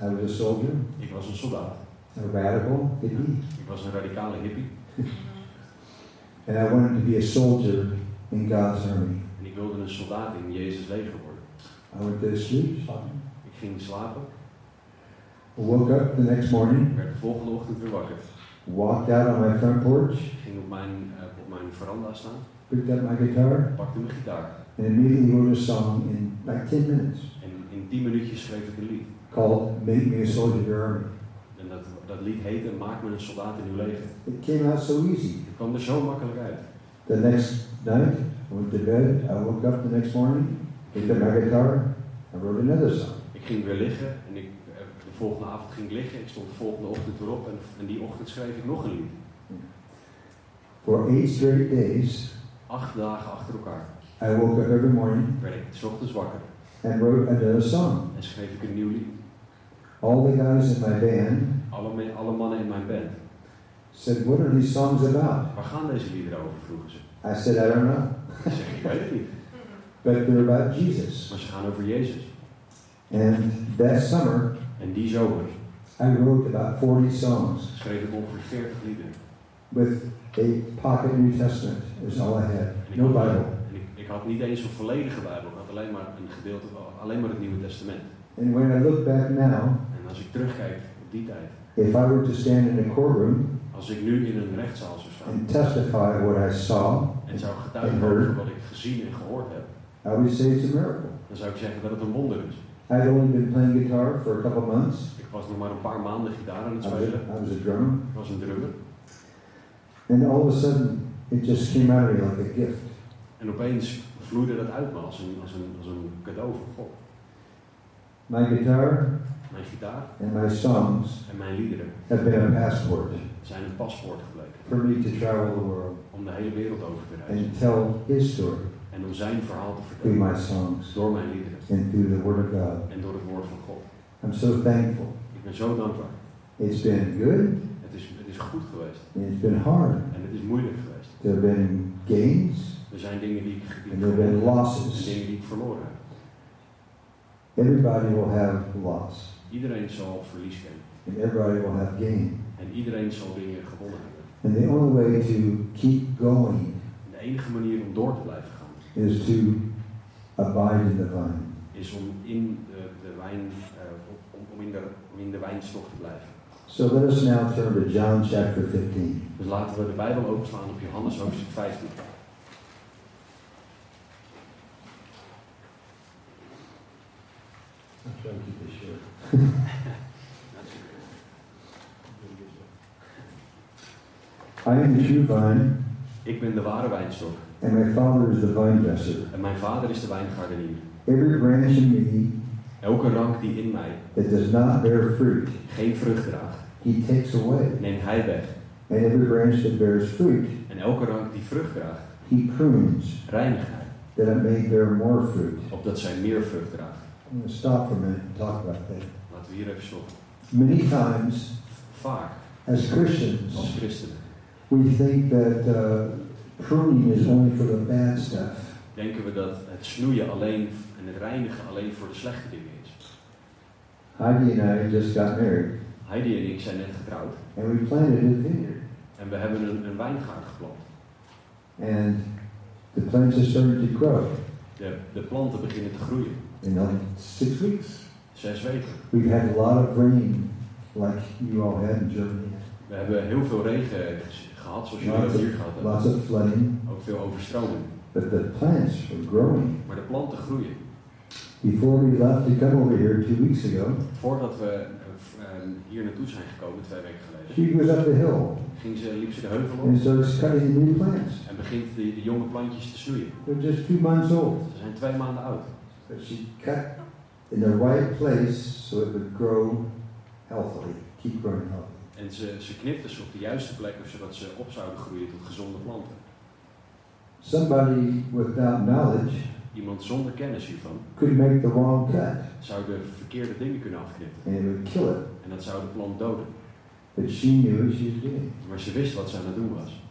[SPEAKER 4] I was a soldier,
[SPEAKER 5] Ik was een soldaat.
[SPEAKER 4] a radical hippie,
[SPEAKER 5] Ik was een radicale hippie.
[SPEAKER 4] and I wanted to be a soldier in God's army.
[SPEAKER 5] En ik wilde een soldaat in Jezus leger worden.
[SPEAKER 4] I went to sleep,
[SPEAKER 5] Ik ging slapen.
[SPEAKER 4] woke up the next morning,
[SPEAKER 5] werd de volgende ochtend weer wakker.
[SPEAKER 4] walked out on my front porch,
[SPEAKER 5] Ik ging op mijn, eh, op mijn veranda staan.
[SPEAKER 4] picked up my guitar,
[SPEAKER 5] Pakte mijn gitaar.
[SPEAKER 4] and immediately wrote a song in like 10 minutes
[SPEAKER 5] En in 10 minuutjes schreef ik een lied.
[SPEAKER 4] called Make Me a Soldier in Your Army.
[SPEAKER 5] En dat, dat lied heette Maak me een soldaat in uw leger.
[SPEAKER 4] It came out so easy.
[SPEAKER 5] Het kwam er zo makkelijk uit.
[SPEAKER 4] The next night, I went to bed, I woke up the next morning, picked up my guitar, I wrote another song.
[SPEAKER 5] Ik ging weer liggen en ik, eh, de volgende avond ging ik liggen. Ik stond de volgende ochtend weer op en, en die ochtend schreef ik nog een lied.
[SPEAKER 4] For eight straight days,
[SPEAKER 5] Acht dagen achter elkaar
[SPEAKER 4] I woke up every morning
[SPEAKER 5] werd ik 's ochtends wakker
[SPEAKER 4] and wrote another song.
[SPEAKER 5] en schreef ik een nieuw lied.
[SPEAKER 4] All the guys in my band
[SPEAKER 5] Alle, me- alle mannen in mijn band.
[SPEAKER 4] said, What are these songs about?
[SPEAKER 5] Waar gaan deze liederen over, vroegen ze.
[SPEAKER 4] I said, I don't know.
[SPEAKER 5] Ik zeg, ik weet het niet.
[SPEAKER 4] But they're about Jesus.
[SPEAKER 5] Maar ze gaan over Jezus.
[SPEAKER 4] And that summer,
[SPEAKER 5] En die zomer
[SPEAKER 4] I wrote about 40 songs
[SPEAKER 5] schreef ik ongeveer 40 liederen.
[SPEAKER 4] with a pocket New Testament, is all I had. No Bible.
[SPEAKER 5] En ik, ik had niet eens een volledige Bijbel. Ik had alleen maar een gedeelte, van- alleen maar het Nieuwe Testament.
[SPEAKER 4] And when I look back now,
[SPEAKER 5] En als ik terugkijk op die tijd.
[SPEAKER 4] if I were to stand in a courtroom
[SPEAKER 5] Als ik nu in een rechtszaal zou staan
[SPEAKER 4] and testify what I saw,
[SPEAKER 5] en zou getuigen over wat ik gezien en gehoord heb,
[SPEAKER 4] I would say it's a miracle.
[SPEAKER 5] dan zou ik zeggen dat het een wonder is.
[SPEAKER 4] I'd only been playing guitar for a couple months.
[SPEAKER 5] Ik was nog maar een paar maanden gitaar aan het
[SPEAKER 4] I was,
[SPEAKER 5] spelen.
[SPEAKER 4] I was a drummer.
[SPEAKER 5] Ik was een drummer.
[SPEAKER 4] And all of a sudden, it just came out of me like a gift.
[SPEAKER 5] En opeens vloeide dat uit me als een, als een, als een cadeau van God.
[SPEAKER 4] My guitar
[SPEAKER 5] Mijn gitaar
[SPEAKER 4] and my songs
[SPEAKER 5] en mijn liederen
[SPEAKER 4] have been a passport
[SPEAKER 5] zijn een paspoort gebleken
[SPEAKER 4] for me to travel the world
[SPEAKER 5] om de hele wereld over te reizen.
[SPEAKER 4] and tell His story
[SPEAKER 5] En om zijn verhaal te
[SPEAKER 4] through
[SPEAKER 5] vertellen
[SPEAKER 4] my songs
[SPEAKER 5] door mijn liederen
[SPEAKER 4] and through the Word of God.
[SPEAKER 5] en door het woord van God.
[SPEAKER 4] I'm so thankful.
[SPEAKER 5] Ik ben zo dankbaar.
[SPEAKER 4] It's been good
[SPEAKER 5] Het is, het is goed geweest
[SPEAKER 4] and it's been hard.
[SPEAKER 5] en het is moeilijk geweest.
[SPEAKER 4] There have been gains
[SPEAKER 5] Er zijn dingen die ik, die ik
[SPEAKER 4] and there have been
[SPEAKER 5] en
[SPEAKER 4] losses,
[SPEAKER 5] dingen die ik verloren heb.
[SPEAKER 4] Everybody will have loss,
[SPEAKER 5] Iedereen zal verlies kennen.
[SPEAKER 4] and everybody will have gain.
[SPEAKER 5] En iedereen zal dingen gewonnen hebben.
[SPEAKER 4] And the only way to keep going
[SPEAKER 5] En de enige manier om door te blijven gaan
[SPEAKER 4] is to abide in the vine.
[SPEAKER 5] is om in de, de wijn, eh, om, om, in de, om in de wijnstok te blijven.
[SPEAKER 4] So let us now turn to John chapter 15.
[SPEAKER 5] Dus laten we de Bijbel openslaan op Johannes hoofdstuk 15.
[SPEAKER 4] I'm trying to keep this short. I am the true vine,
[SPEAKER 5] Ik ben de ware wijnstok
[SPEAKER 4] and my Father is the vine dresser.
[SPEAKER 5] en mijn vader is de wijngaardenier.
[SPEAKER 4] Every branch in me
[SPEAKER 5] Elke rank die in mij
[SPEAKER 4] that does not bear fruit,
[SPEAKER 5] geen vrucht draagt,
[SPEAKER 4] he takes away.
[SPEAKER 5] neemt hij weg.
[SPEAKER 4] And every branch that bears fruit,
[SPEAKER 5] En elke rank die vrucht draagt,
[SPEAKER 4] he prunes,
[SPEAKER 5] reinigt hij,
[SPEAKER 4] that it may bear more fruit.
[SPEAKER 5] opdat zij meer vrucht draagt.
[SPEAKER 4] I'm going to stop for a minute and talk about that.
[SPEAKER 5] Laten we hier even stoppen.
[SPEAKER 4] Many times,
[SPEAKER 5] Vaak,
[SPEAKER 4] as
[SPEAKER 5] als
[SPEAKER 4] Christians,
[SPEAKER 5] christenen,
[SPEAKER 4] we think that uh, pruning is only for the bad stuff.
[SPEAKER 5] denken we dat het snoeien alleen en het reinigen alleen voor de slechte dingen is.
[SPEAKER 4] Heidi and I just got married,
[SPEAKER 5] Heidi en ik zijn net getrouwd
[SPEAKER 4] and we planted a vineyard.
[SPEAKER 5] en we hebben een, een wijngaard geplant.
[SPEAKER 4] And the plants have started to grow.
[SPEAKER 5] De, de planten beginnen te groeien.
[SPEAKER 4] In like six weeks,
[SPEAKER 5] Zes weken.
[SPEAKER 4] we've had a lot of rain, like you all had in Germany.
[SPEAKER 5] We hebben heel veel regen ge- gehad, zoals jullie
[SPEAKER 4] Laten-
[SPEAKER 5] ook hier gehad hebben.
[SPEAKER 4] Lots of flooding,
[SPEAKER 5] Ook veel overstroming.
[SPEAKER 4] but the plants were growing.
[SPEAKER 5] Maar de planten groeien.
[SPEAKER 4] Before we left to come over here two weeks ago,
[SPEAKER 5] Voordat we eh, v- eh, hier naartoe zijn gekomen, twee weken geleden,
[SPEAKER 4] she goes up the hill
[SPEAKER 5] ging ze, liep ze de heuvel
[SPEAKER 4] and
[SPEAKER 5] op
[SPEAKER 4] starts cutting the new plants.
[SPEAKER 5] en begint de, de jonge plantjes te snoeien.
[SPEAKER 4] They're just two months old.
[SPEAKER 5] Ze zijn twee maanden oud.
[SPEAKER 4] But she cut in the right place so it would grow healthily, keep growing healthy.
[SPEAKER 5] En ze, ze knipten ze op de juiste plekken zodat ze op zouden groeien tot gezonde planten.
[SPEAKER 4] Somebody without knowledge
[SPEAKER 5] Iemand zonder kennis hiervan
[SPEAKER 4] could make the wrong cut
[SPEAKER 5] zou de verkeerde dingen kunnen afknippen.
[SPEAKER 4] and it would kill it.
[SPEAKER 5] En dat zou de plant doden.
[SPEAKER 4] But she knew what she was doing.
[SPEAKER 5] Maar ze wist wat ze aan het doen was.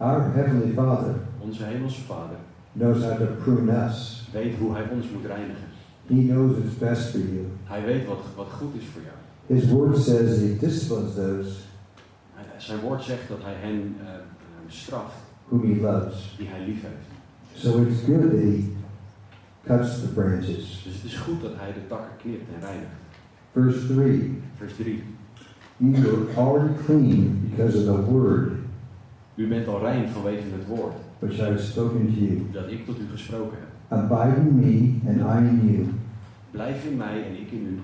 [SPEAKER 4] Our Heavenly Father
[SPEAKER 5] Onze hemelse vader
[SPEAKER 4] knows how to prune us.
[SPEAKER 5] weet hoe hij ons moet reinigen.
[SPEAKER 4] He knows what's best for you.
[SPEAKER 5] Hij weet wat, wat goed is voor jou.
[SPEAKER 4] His word says he disciplines those
[SPEAKER 5] Hij- Zijn woord zegt dat hij hen eh, eh, straft
[SPEAKER 4] whom he loves.
[SPEAKER 5] die hij lief heeft.
[SPEAKER 4] So it's good that he cuts the branches.
[SPEAKER 5] Dus het is goed dat hij de takken knipt en reinigt.
[SPEAKER 4] Verse 3
[SPEAKER 5] Vers 3.
[SPEAKER 4] You are already clean because of the word
[SPEAKER 5] U bent al rein vanwege het woord
[SPEAKER 4] which I have spoken to you.
[SPEAKER 5] dat ik tot u gesproken heb.
[SPEAKER 4] Abide in me, and I in you.
[SPEAKER 5] Blijf in mij en ik in u.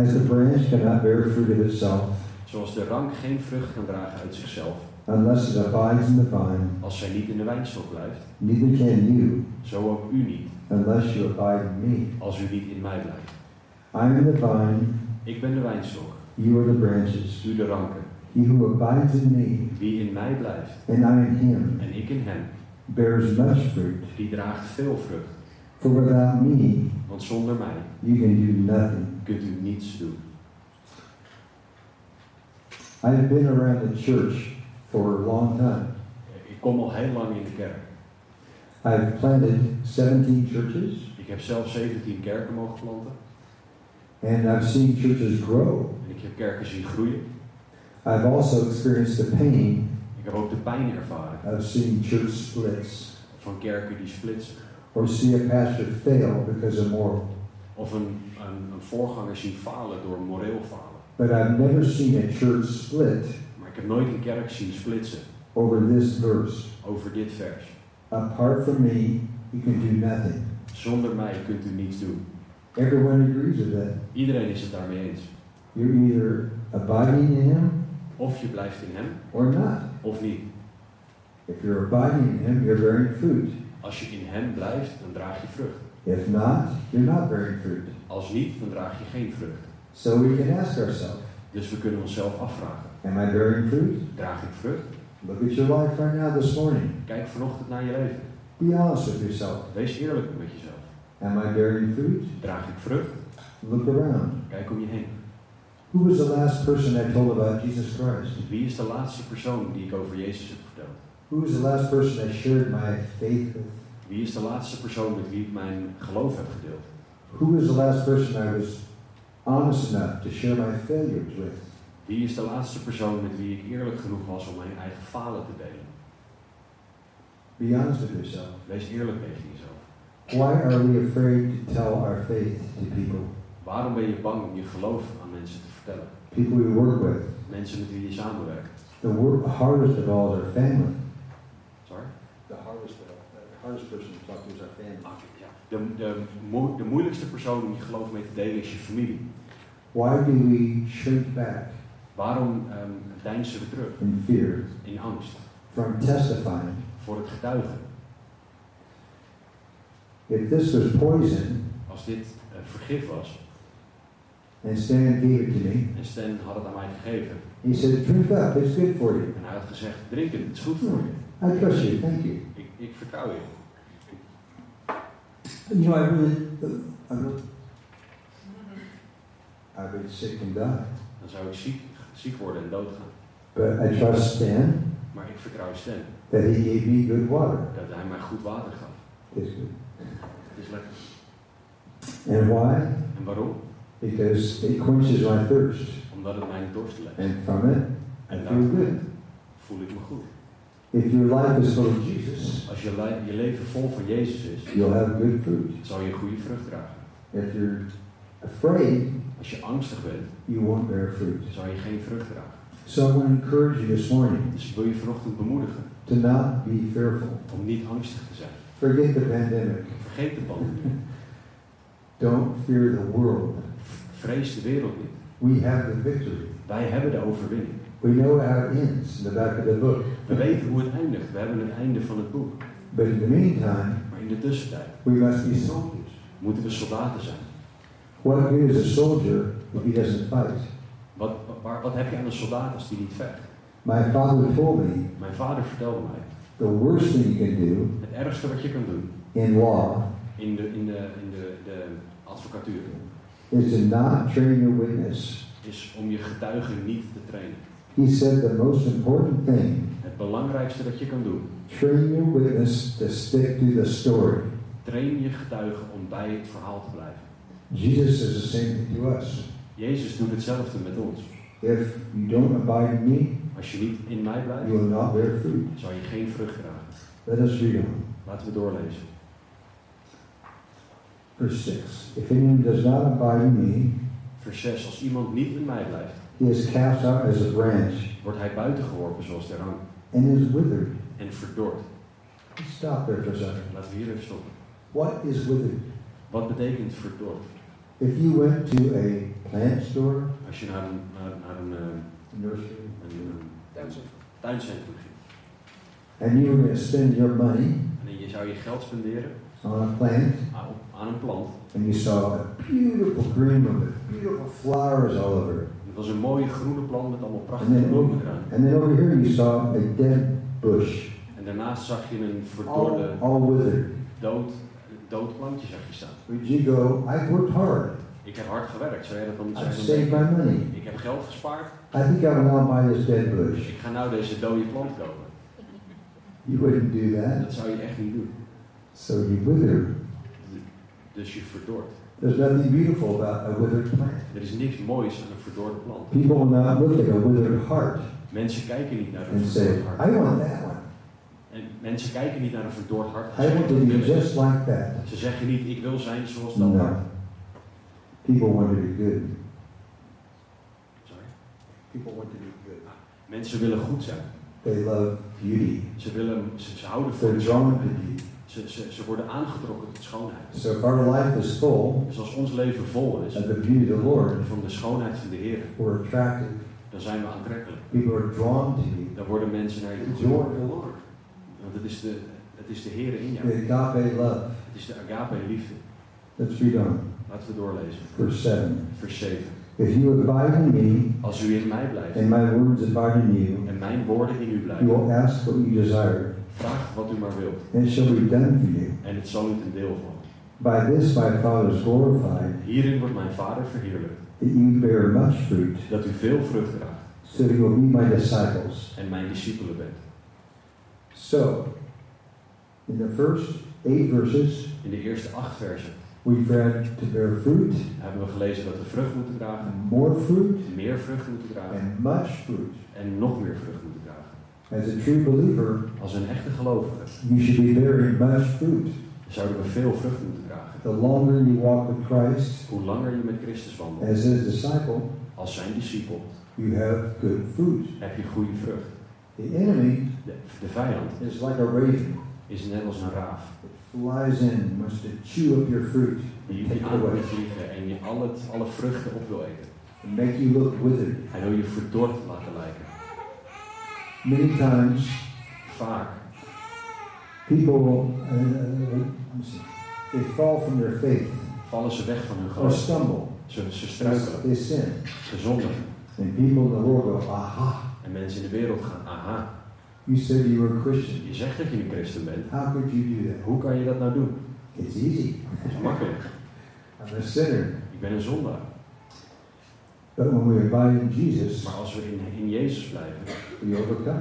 [SPEAKER 4] As the branch cannot bear fruit of itself
[SPEAKER 5] Zoals de rank geen vrucht kan dragen uit zichzelf,
[SPEAKER 4] unless it abides in the vine,
[SPEAKER 5] als zij niet in de wijnstok blijft,
[SPEAKER 4] neither can you
[SPEAKER 5] zo ook u niet,
[SPEAKER 4] unless you abide in me.
[SPEAKER 5] als u niet in mij blijft.
[SPEAKER 4] I am the vine,
[SPEAKER 5] Ik ben de wijnstok,
[SPEAKER 4] you are the branches.
[SPEAKER 5] u de ranken.
[SPEAKER 4] He who abides in me,
[SPEAKER 5] Wie in mij blijft
[SPEAKER 4] and I in him,
[SPEAKER 5] en ik in hem,
[SPEAKER 4] bears much fruit.
[SPEAKER 5] die draagt veel vrucht.
[SPEAKER 4] For without me,
[SPEAKER 5] Want zonder mij
[SPEAKER 4] you can do nothing.
[SPEAKER 5] kunt u niets doen.
[SPEAKER 4] I have been around the church for a long time.
[SPEAKER 5] Ik kom al heel lang in de kerk.
[SPEAKER 4] I have planted 17 churches,
[SPEAKER 5] Ik heb zelf 17 kerken mogen planten.
[SPEAKER 4] and I've seen churches grow.
[SPEAKER 5] En ik heb kerken zien groeien.
[SPEAKER 4] I've also experienced the pain
[SPEAKER 5] Ik heb ook de pijn ervaren
[SPEAKER 4] of seeing church splits
[SPEAKER 5] van kerken die splitsen.
[SPEAKER 4] or see a pastor fail because of moral.
[SPEAKER 5] Of een, een, een voorganger zien falen door moreel falen.
[SPEAKER 4] But I've never seen a church split
[SPEAKER 5] Maar ik heb nooit een kerk zien splitsen
[SPEAKER 4] over this verse.
[SPEAKER 5] over dit vers.
[SPEAKER 4] Apart from me, you can do nothing.
[SPEAKER 5] Zonder mij kunt u niets doen.
[SPEAKER 4] Everyone agrees with that.
[SPEAKER 5] Iedereen is het daarmee eens.
[SPEAKER 4] You're either abiding in him
[SPEAKER 5] Of je blijft in hem,
[SPEAKER 4] or not.
[SPEAKER 5] of niet.
[SPEAKER 4] If you're abiding in him, you're bearing fruit.
[SPEAKER 5] Als je in hem blijft, dan draag je vrucht.
[SPEAKER 4] If not, you're not bearing fruit.
[SPEAKER 5] Als niet, dan draag je geen vrucht.
[SPEAKER 4] So we can ask ourselves,
[SPEAKER 5] Dus we kunnen onszelf afvragen.
[SPEAKER 4] am I bearing fruit?
[SPEAKER 5] Draag ik vrucht?
[SPEAKER 4] Look at your life right now this morning.
[SPEAKER 5] Kijk vanochtend naar je leven.
[SPEAKER 4] Be honest with yourself.
[SPEAKER 5] Wees eerlijk met jezelf.
[SPEAKER 4] Am I bearing fruit?
[SPEAKER 5] Draag ik vrucht?
[SPEAKER 4] Look around.
[SPEAKER 5] Kijk om je heen.
[SPEAKER 4] Who was the last person I told about Jesus Christ?
[SPEAKER 5] Wie is de laatste persoon die ik over Jezus heb verteld?
[SPEAKER 4] Who was the last person I shared my faith with?
[SPEAKER 5] Wie is de laatste persoon met wie ik mijn geloof heb gedeeld?
[SPEAKER 4] Who is the last person I was honest enough to share my failures with?
[SPEAKER 5] Wie is de laatste persoon met wie ik eerlijk genoeg was om mijn eigen falen te delen?
[SPEAKER 4] Be honest with yourself.
[SPEAKER 5] Wees eerlijk tegen jezelf.
[SPEAKER 4] Why are we afraid to tell our faith to people?
[SPEAKER 5] Waarom ben je bang om je geloof aan mensen te vertellen?
[SPEAKER 4] People we work with.
[SPEAKER 5] Mensen met wie je samenwerkt.
[SPEAKER 4] The wor hardest of all is our family.
[SPEAKER 5] Sorry?
[SPEAKER 4] The hardest, of, the hardest person to talk to is our family.
[SPEAKER 5] Oké, ja. De, de, mo- de moeilijkste persoon om je geloof mee te delen is je familie.
[SPEAKER 4] Why do we shrink back
[SPEAKER 5] Waarom ehm deinzen we terug
[SPEAKER 4] in fear
[SPEAKER 5] in angst
[SPEAKER 4] from testifying?
[SPEAKER 5] voor het getuigen?
[SPEAKER 4] If this was poison
[SPEAKER 5] Als dit eh, vergif was
[SPEAKER 4] and Stan gave it to me,
[SPEAKER 5] en Stan had het aan mij gegeven
[SPEAKER 4] he said, drink up, it's good for you.
[SPEAKER 5] en hij had gezegd: drink het, het is goed voor je.
[SPEAKER 4] I trust you, thank you.
[SPEAKER 5] Ik, ik vertrouw je.
[SPEAKER 4] You know, I really, I really, I've been sick and died.
[SPEAKER 5] Dan zou ik ziek, ziek worden en doodgaan.
[SPEAKER 4] But I trust Stan
[SPEAKER 5] Maar ik vertrouw Stan
[SPEAKER 4] that he gave me good water.
[SPEAKER 5] dat hij mij goed water gaf.
[SPEAKER 4] It's good.
[SPEAKER 5] Het is lekker.
[SPEAKER 4] And why?
[SPEAKER 5] En waarom?
[SPEAKER 4] Because it quenches my thirst.
[SPEAKER 5] Omdat het mijn dorst legt.
[SPEAKER 4] And from it, I
[SPEAKER 5] En
[SPEAKER 4] feel
[SPEAKER 5] daarom
[SPEAKER 4] good.
[SPEAKER 5] voel ik me goed.
[SPEAKER 4] If your life is full of Jesus,
[SPEAKER 5] Als je, li- je leven vol van Jezus is,
[SPEAKER 4] you'll have good fruit.
[SPEAKER 5] zal je goede vrucht dragen.
[SPEAKER 4] If you're afraid,
[SPEAKER 5] Als je angstig bent,
[SPEAKER 4] you won't bear fruit.
[SPEAKER 5] zal je geen vrucht dragen.
[SPEAKER 4] So I want to encourage you this morning
[SPEAKER 5] Dus ik wil je vanochtend bemoedigen
[SPEAKER 4] to not be fearful.
[SPEAKER 5] om niet angstig te zijn.
[SPEAKER 4] Forget the pandemic.
[SPEAKER 5] Vergeet de banden.
[SPEAKER 4] Don't fear the world.
[SPEAKER 5] Vrees de wereld niet.
[SPEAKER 4] We have the victory.
[SPEAKER 5] Wij hebben de overwinning.
[SPEAKER 4] We know how it ends in the back of the book.
[SPEAKER 5] We weten hoe het eindigt. We hebben het einde van het boek.
[SPEAKER 4] But in the meantime,
[SPEAKER 5] Maar in de tussentijd
[SPEAKER 4] we must be soldiers.
[SPEAKER 5] moeten we soldaten zijn.
[SPEAKER 4] What good is a soldier if he doesn't fight?
[SPEAKER 5] Wat, waar, wat heb je aan een soldaat als die niet vecht?
[SPEAKER 4] My father told me
[SPEAKER 5] Mijn vader vertelde mij,
[SPEAKER 4] the worst thing you can do
[SPEAKER 5] het ergste wat je kan doen
[SPEAKER 4] in law
[SPEAKER 5] in de, in de, in de, de advocatuur
[SPEAKER 4] is to not train your witness.
[SPEAKER 5] is om je getuigen niet te trainen.
[SPEAKER 4] He said the most important thing
[SPEAKER 5] Het belangrijkste dat je kan doen,
[SPEAKER 4] train your witness to stick to the story.
[SPEAKER 5] train je getuigen om bij het verhaal te blijven.
[SPEAKER 4] Jesus is the same thing to us.
[SPEAKER 5] Jezus doet hetzelfde met ons.
[SPEAKER 4] If you don't abide in me,
[SPEAKER 5] Als je niet in mij
[SPEAKER 4] you
[SPEAKER 5] blijft,
[SPEAKER 4] will not bear fruit.
[SPEAKER 5] zal je geen vrucht dragen.
[SPEAKER 4] Let us read on.
[SPEAKER 5] Laten we doorlezen.
[SPEAKER 4] Verse 6. If anyone does not abide in me,
[SPEAKER 5] Vers 6. Als iemand niet in mij blijft,
[SPEAKER 4] He is cast out as a branch
[SPEAKER 5] wordt hij buitengeworpen zoals de rang
[SPEAKER 4] and is withered.
[SPEAKER 5] en verdord.
[SPEAKER 4] Let's Stop there for a second.
[SPEAKER 5] Laten we hier even stoppen.
[SPEAKER 4] What is withered?
[SPEAKER 5] Wat betekent verdord?
[SPEAKER 4] If you went to a plant store,
[SPEAKER 5] Als je naar een, naar, naar een, eh,
[SPEAKER 4] nursery,
[SPEAKER 5] een, een tuincentrum ging
[SPEAKER 4] and you were going to spend your money
[SPEAKER 5] en je zou je geld spenderen
[SPEAKER 4] on a plant,
[SPEAKER 5] aan, op- aan een plant,
[SPEAKER 4] and you saw a beautiful green one with beautiful flowers all over it,
[SPEAKER 5] het was een mooie groene plant met allemaal prachtige
[SPEAKER 4] Nee.
[SPEAKER 5] bloemen eraan.
[SPEAKER 4] and then over here you saw a dead bush,
[SPEAKER 5] En daarnaast zag je een
[SPEAKER 4] all,
[SPEAKER 5] verdorde,
[SPEAKER 4] all withered.
[SPEAKER 5] dood, dood plantje zag je staan.
[SPEAKER 4] Would you go, I've worked hard,
[SPEAKER 5] Ik heb hard gewerkt, zou jij dat dan
[SPEAKER 4] I've
[SPEAKER 5] zeggen?
[SPEAKER 4] saved my money,
[SPEAKER 5] Ik heb geld gespaard,
[SPEAKER 4] I think I will now buy this dead bush.
[SPEAKER 5] ik ga nou deze dode plant kopen.
[SPEAKER 4] You wouldn't do that,
[SPEAKER 5] Dat zou je echt niet doen.
[SPEAKER 4] so you wither.
[SPEAKER 5] Dus je verdort.
[SPEAKER 4] There's nothing beautiful about a withered plant.
[SPEAKER 5] Er is niks moois aan een verdorde plant.
[SPEAKER 4] People will not look at a withered heart
[SPEAKER 5] Mensen kijken niet naar een
[SPEAKER 4] and say,
[SPEAKER 5] verdord
[SPEAKER 4] I
[SPEAKER 5] hart.
[SPEAKER 4] want that one.
[SPEAKER 5] En mensen kijken niet naar een verdord hart. Ze
[SPEAKER 4] I want
[SPEAKER 5] zeggen,
[SPEAKER 4] to
[SPEAKER 5] "Ik
[SPEAKER 4] be
[SPEAKER 5] wil het."
[SPEAKER 4] just like that.
[SPEAKER 5] Ze zeggen niet, ik wil zijn zoals dat hart.
[SPEAKER 4] No. People want to be good.
[SPEAKER 5] Sorry.
[SPEAKER 4] People want to be good.
[SPEAKER 5] Mensen willen goed zijn.
[SPEAKER 4] They love beauty.
[SPEAKER 5] Ze, willen, ze, ze houden
[SPEAKER 4] They're
[SPEAKER 5] van
[SPEAKER 4] drawn to beauty.
[SPEAKER 5] Ze, ze, ze worden aangetrokken tot schoonheid.
[SPEAKER 4] So if our life is full
[SPEAKER 5] Dus als ons leven vol is
[SPEAKER 4] of the beauty of the Lord,
[SPEAKER 5] van de schoonheid van de Heer,
[SPEAKER 4] we're attractive.
[SPEAKER 5] dan zijn we aantrekkelijk.
[SPEAKER 4] People are drawn to you.
[SPEAKER 5] Dan worden mensen naar je toe
[SPEAKER 4] The joy of
[SPEAKER 5] getrokken.
[SPEAKER 4] the Lord.
[SPEAKER 5] Want het is de, het is de Heer in
[SPEAKER 4] The
[SPEAKER 5] jou.
[SPEAKER 4] agape love.
[SPEAKER 5] Het is de agape liefde.
[SPEAKER 4] Let's read on.
[SPEAKER 5] Laten we doorlezen.
[SPEAKER 4] Verse 7.
[SPEAKER 5] Vers 7.
[SPEAKER 4] If you abide in me
[SPEAKER 5] Als u in mij blijft
[SPEAKER 4] and my words abide in you,
[SPEAKER 5] en mijn woorden in u
[SPEAKER 4] you
[SPEAKER 5] blijven,
[SPEAKER 4] will ask what you desire,
[SPEAKER 5] vraag wat u maar wilt
[SPEAKER 4] and it shall be done for you.
[SPEAKER 5] en het zal u ten deel vallen.
[SPEAKER 4] By this my Father is glorified,
[SPEAKER 5] Hierin wordt mijn Vader verheerlijkt,
[SPEAKER 4] that you bear much fruit,
[SPEAKER 5] dat u veel vrucht draagt
[SPEAKER 4] so you will be my disciples.
[SPEAKER 5] en mijn discipelen bent.
[SPEAKER 4] So, in the first eight verses,
[SPEAKER 5] In de eerste acht versen
[SPEAKER 4] we've read to bear fruit,
[SPEAKER 5] hebben we gelezen dat we vrucht moeten dragen,
[SPEAKER 4] and more fruit,
[SPEAKER 5] meer vrucht moeten dragen
[SPEAKER 4] and much fruit.
[SPEAKER 5] en nog meer vrucht moeten dragen.
[SPEAKER 4] As a true believer,
[SPEAKER 5] Als een echte gelovige
[SPEAKER 4] you should be bearing much fruit.
[SPEAKER 5] zouden we veel vrucht moeten dragen.
[SPEAKER 4] The longer you walk with Christ
[SPEAKER 5] Hoe langer je met Christus wandelt,
[SPEAKER 4] as his disciple,
[SPEAKER 5] als zijn discipel,
[SPEAKER 4] you have good fruit.
[SPEAKER 5] heb je goede vrucht.
[SPEAKER 4] The enemy
[SPEAKER 5] De, de vijand
[SPEAKER 4] is like a raven.
[SPEAKER 5] is net als een raaf.
[SPEAKER 4] It flies in, wants to chew up your fruit
[SPEAKER 5] Die, die aan wil vliegen en je al het, alle vruchten op wil eten.
[SPEAKER 4] and make you look withered.
[SPEAKER 5] Hij wil je verdord laten lijken.
[SPEAKER 4] Many times,
[SPEAKER 5] Vaak
[SPEAKER 4] people uh, let me see, they fall from their faith
[SPEAKER 5] vallen ze weg van hun
[SPEAKER 4] or
[SPEAKER 5] geloof.
[SPEAKER 4] stumble.
[SPEAKER 5] Ze, ze struikelen,
[SPEAKER 4] They sin.
[SPEAKER 5] ze zondigen.
[SPEAKER 4] And people in the world go, aha,
[SPEAKER 5] En mensen in de wereld gaan, aha,
[SPEAKER 4] you said you were a Christian.
[SPEAKER 5] je zegt dat je een christen bent.
[SPEAKER 4] How could you do that?
[SPEAKER 5] Hoe kan je dat nou doen?
[SPEAKER 4] It's easy.
[SPEAKER 5] Dat is makkelijk.
[SPEAKER 4] I'm a sinner.
[SPEAKER 5] Ik ben een zondaar.
[SPEAKER 4] But when we abide in Jesus,
[SPEAKER 5] Maar als we in, in Jezus blijven,
[SPEAKER 4] we overcome that.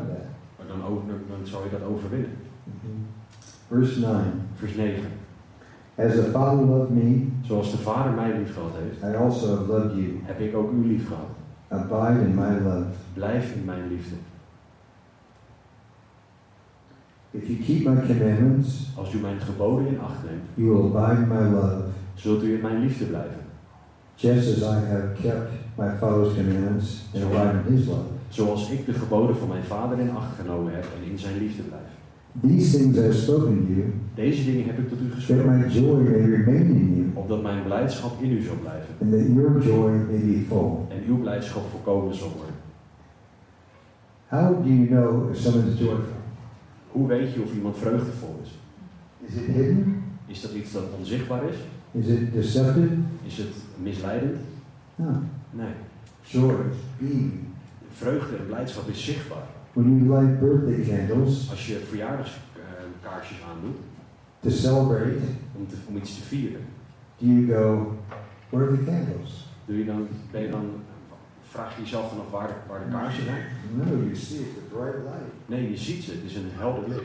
[SPEAKER 4] Mm-hmm.
[SPEAKER 5] maar dan, over, dan zou je dat overwinnen.
[SPEAKER 4] Verse 9
[SPEAKER 5] Vers 9.
[SPEAKER 4] As the Father loved me,
[SPEAKER 5] Zoals de Vader mij lief gehad heeft,
[SPEAKER 4] I also have loved you.
[SPEAKER 5] heb ik ook u lief gehad.
[SPEAKER 4] Abide in my love.
[SPEAKER 5] Blijf in mijn liefde.
[SPEAKER 4] If you keep my commandments,
[SPEAKER 5] Als u mijn geboden in acht neemt,
[SPEAKER 4] you will abide in my love,
[SPEAKER 5] zult u in mijn liefde blijven.
[SPEAKER 4] just as I have kept my Father's commandments and abide in his love.
[SPEAKER 5] Zoals ik de geboden van mijn Vader in acht genomen heb en in zijn liefde blijf.
[SPEAKER 4] These things I have spoken to you,
[SPEAKER 5] Deze dingen heb ik tot u
[SPEAKER 4] that
[SPEAKER 5] gesproken,
[SPEAKER 4] my joy may remain in you,
[SPEAKER 5] opdat mijn blijdschap in u zal blijven
[SPEAKER 4] and that your joy may be full.
[SPEAKER 5] en uw blijdschap volkomen zal worden.
[SPEAKER 4] How do you know if someone's joyful?
[SPEAKER 5] Hoe weet je of iemand vreugdevol is?
[SPEAKER 4] Is it hidden?
[SPEAKER 5] Is dat iets dat onzichtbaar is?
[SPEAKER 4] Is it deceptive?
[SPEAKER 5] Is het misleidend?
[SPEAKER 4] No.
[SPEAKER 5] Nee.
[SPEAKER 4] Joy is being.
[SPEAKER 5] Vreugde en blijdschap is zichtbaar.
[SPEAKER 4] When you light birthday candles
[SPEAKER 5] Als je verjaardagskaarsjes aandoet
[SPEAKER 4] to celebrate,
[SPEAKER 5] om, te, om iets te vieren,
[SPEAKER 4] do you go, where are the candles?
[SPEAKER 5] doe je dan, ben je dan, vraag je jezelf dan af waar, waar de kaarsen zijn?
[SPEAKER 4] No, you see it, the bright light.
[SPEAKER 5] Nee, je ziet ze. Het is een helder licht.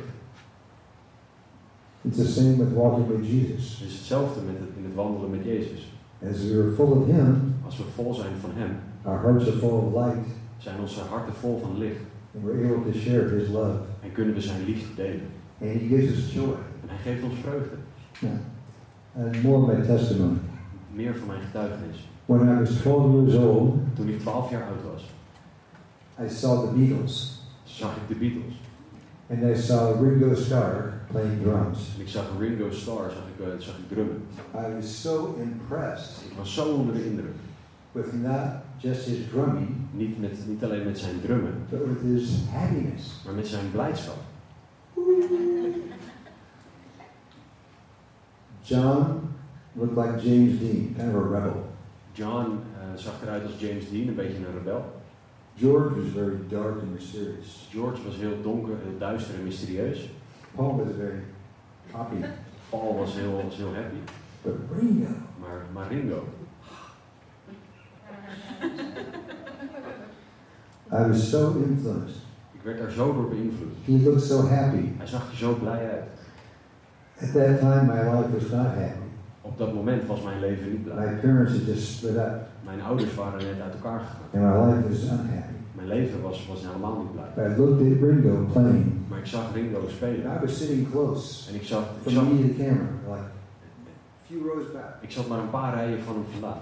[SPEAKER 4] It's the same with walking with Jesus.
[SPEAKER 5] Het is hetzelfde met het, in het wandelen met Jezus.
[SPEAKER 4] As we are full of Him,
[SPEAKER 5] Als we vol zijn van Hem,
[SPEAKER 4] our hearts are full of light,
[SPEAKER 5] zijn onze harten vol van licht
[SPEAKER 4] and we're able to share His love.
[SPEAKER 5] en kunnen we Zijn liefde delen.
[SPEAKER 4] And He gives us joy.
[SPEAKER 5] En Hij geeft ons vreugde.
[SPEAKER 4] And more of my testimony.
[SPEAKER 5] Meer van mijn getuigenis.
[SPEAKER 4] When I was 12 years old,
[SPEAKER 5] Toen ik 12 jaar oud was,
[SPEAKER 4] I saw the Beatles,
[SPEAKER 5] zag ik de Beatles.
[SPEAKER 4] and I saw Ringo Starr playing drums.
[SPEAKER 5] En ik zag Ringo Starr, zag ik, eh, zag ik drummen.
[SPEAKER 4] I was so impressed
[SPEAKER 5] Ik was zo onder de indruk.
[SPEAKER 4] with not just his drumming,
[SPEAKER 5] Niet, met, niet alleen met zijn drummen,
[SPEAKER 4] but with his happiness.
[SPEAKER 5] maar met zijn blijdschap.
[SPEAKER 4] John looked like James Dean, kind of a rebel.
[SPEAKER 5] John eh, zag eruit als James Dean, een beetje een rebel.
[SPEAKER 4] George was very dark and mysterious.
[SPEAKER 5] George was heel donker, heel duister en mysterieus.
[SPEAKER 4] Paul was very happy.
[SPEAKER 5] Paul was heel, was heel happy.
[SPEAKER 4] But Ringo,
[SPEAKER 5] Maar, maar Ringo,
[SPEAKER 4] I was so influenced.
[SPEAKER 5] ik werd daar zo door beïnvloed.
[SPEAKER 4] He looked so happy.
[SPEAKER 5] Hij zag er zo blij uit.
[SPEAKER 4] At that time, my life was not happy.
[SPEAKER 5] Op dat moment was mijn leven niet blij.
[SPEAKER 4] My parents had just split up,
[SPEAKER 5] Mijn ouders waren net uit elkaar gegaan.
[SPEAKER 4] and my life was unhappy.
[SPEAKER 5] Mijn leven was, was helemaal niet blij.
[SPEAKER 4] I looked at Ringo playing,
[SPEAKER 5] Maar ik zag Ringo
[SPEAKER 4] and
[SPEAKER 5] spelen.
[SPEAKER 4] I was sitting close
[SPEAKER 5] En ik zag, ik zag,
[SPEAKER 4] from me to the camera, like a few rows back.
[SPEAKER 5] ik zat maar een paar rijen van hem vandaan.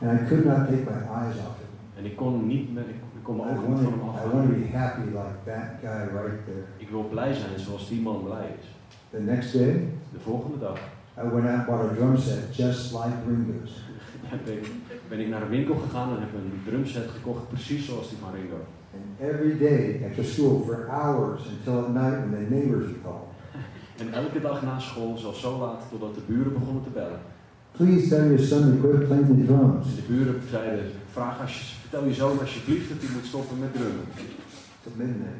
[SPEAKER 4] And I could not take my eyes off him.
[SPEAKER 5] En ik kon, niet, met- ik, ik
[SPEAKER 4] I
[SPEAKER 5] kon mijn ogen niet van hem
[SPEAKER 4] want, I want to
[SPEAKER 5] afhouden.
[SPEAKER 4] be happy like that guy right there.
[SPEAKER 5] Ik wil blij zijn zoals die man blij is.
[SPEAKER 4] The next day,
[SPEAKER 5] De volgende dag
[SPEAKER 4] I went out and bought a drum set just like Ringo's.
[SPEAKER 5] ben ik, ben ik naar een winkel gegaan en heb een drumset gekocht, precies zoals die van Ringo.
[SPEAKER 4] And every day after school for hours until at night when the neighbors would call.
[SPEAKER 5] En elke dag na school, zelfs zo laat, totdat de buren begonnen te bellen.
[SPEAKER 4] Please tell your son to quit playing the
[SPEAKER 5] Dus
[SPEAKER 4] drums.
[SPEAKER 5] de buren zeiden, vraag als je, vertel je zoon alsjeblieft dat hij moet stoppen met drummen.
[SPEAKER 4] To midnight.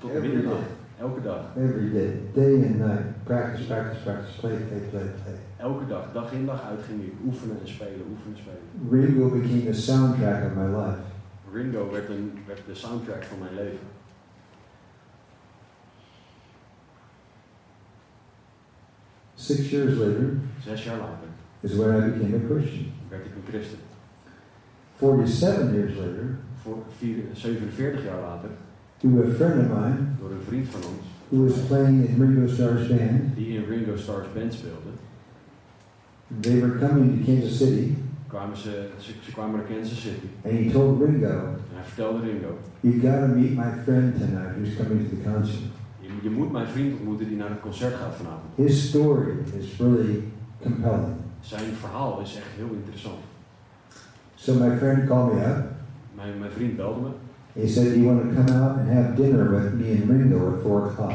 [SPEAKER 5] Tot
[SPEAKER 4] Every
[SPEAKER 5] middernacht,
[SPEAKER 4] night.
[SPEAKER 5] elke dag.
[SPEAKER 4] Every day. Day and night. Practice, practice, practice. Play, play, play, play.
[SPEAKER 5] Elke dag, dag in dag uit ging ik oefenen en spelen, oefenen en spelen.
[SPEAKER 4] Ringo became the soundtrack of my life.
[SPEAKER 5] Ringo werd, een, werd de soundtrack van mijn leven.
[SPEAKER 4] Six years later
[SPEAKER 5] Zes jaar later
[SPEAKER 4] is when I became a Christian.
[SPEAKER 5] werd ik een christen.
[SPEAKER 4] 47 years later,
[SPEAKER 5] Voor vier- 47 jaar later,
[SPEAKER 4] through a friend of mine
[SPEAKER 5] door een vriend van ons,
[SPEAKER 4] who was playing in Ringo Starr's band,
[SPEAKER 5] die in Ringo Starr's band speelde,
[SPEAKER 4] they were coming to Kansas City,
[SPEAKER 5] kwamen ze, ze, ze kwamen naar Kansas City.
[SPEAKER 4] and he told Ringo,
[SPEAKER 5] En hij vertelde Ringo,
[SPEAKER 4] You've got to meet my friend tonight who's coming to the concert.
[SPEAKER 5] je, je moet mijn vriend ontmoeten die naar het concert gaat vanavond.
[SPEAKER 4] His story is really compelling.
[SPEAKER 5] Zijn verhaal is echt heel interessant.
[SPEAKER 4] So my friend called me up.
[SPEAKER 5] Mijn, mijn vriend belde me,
[SPEAKER 4] He said, You want to come out and have dinner with me and Ringo at 4 o'clock?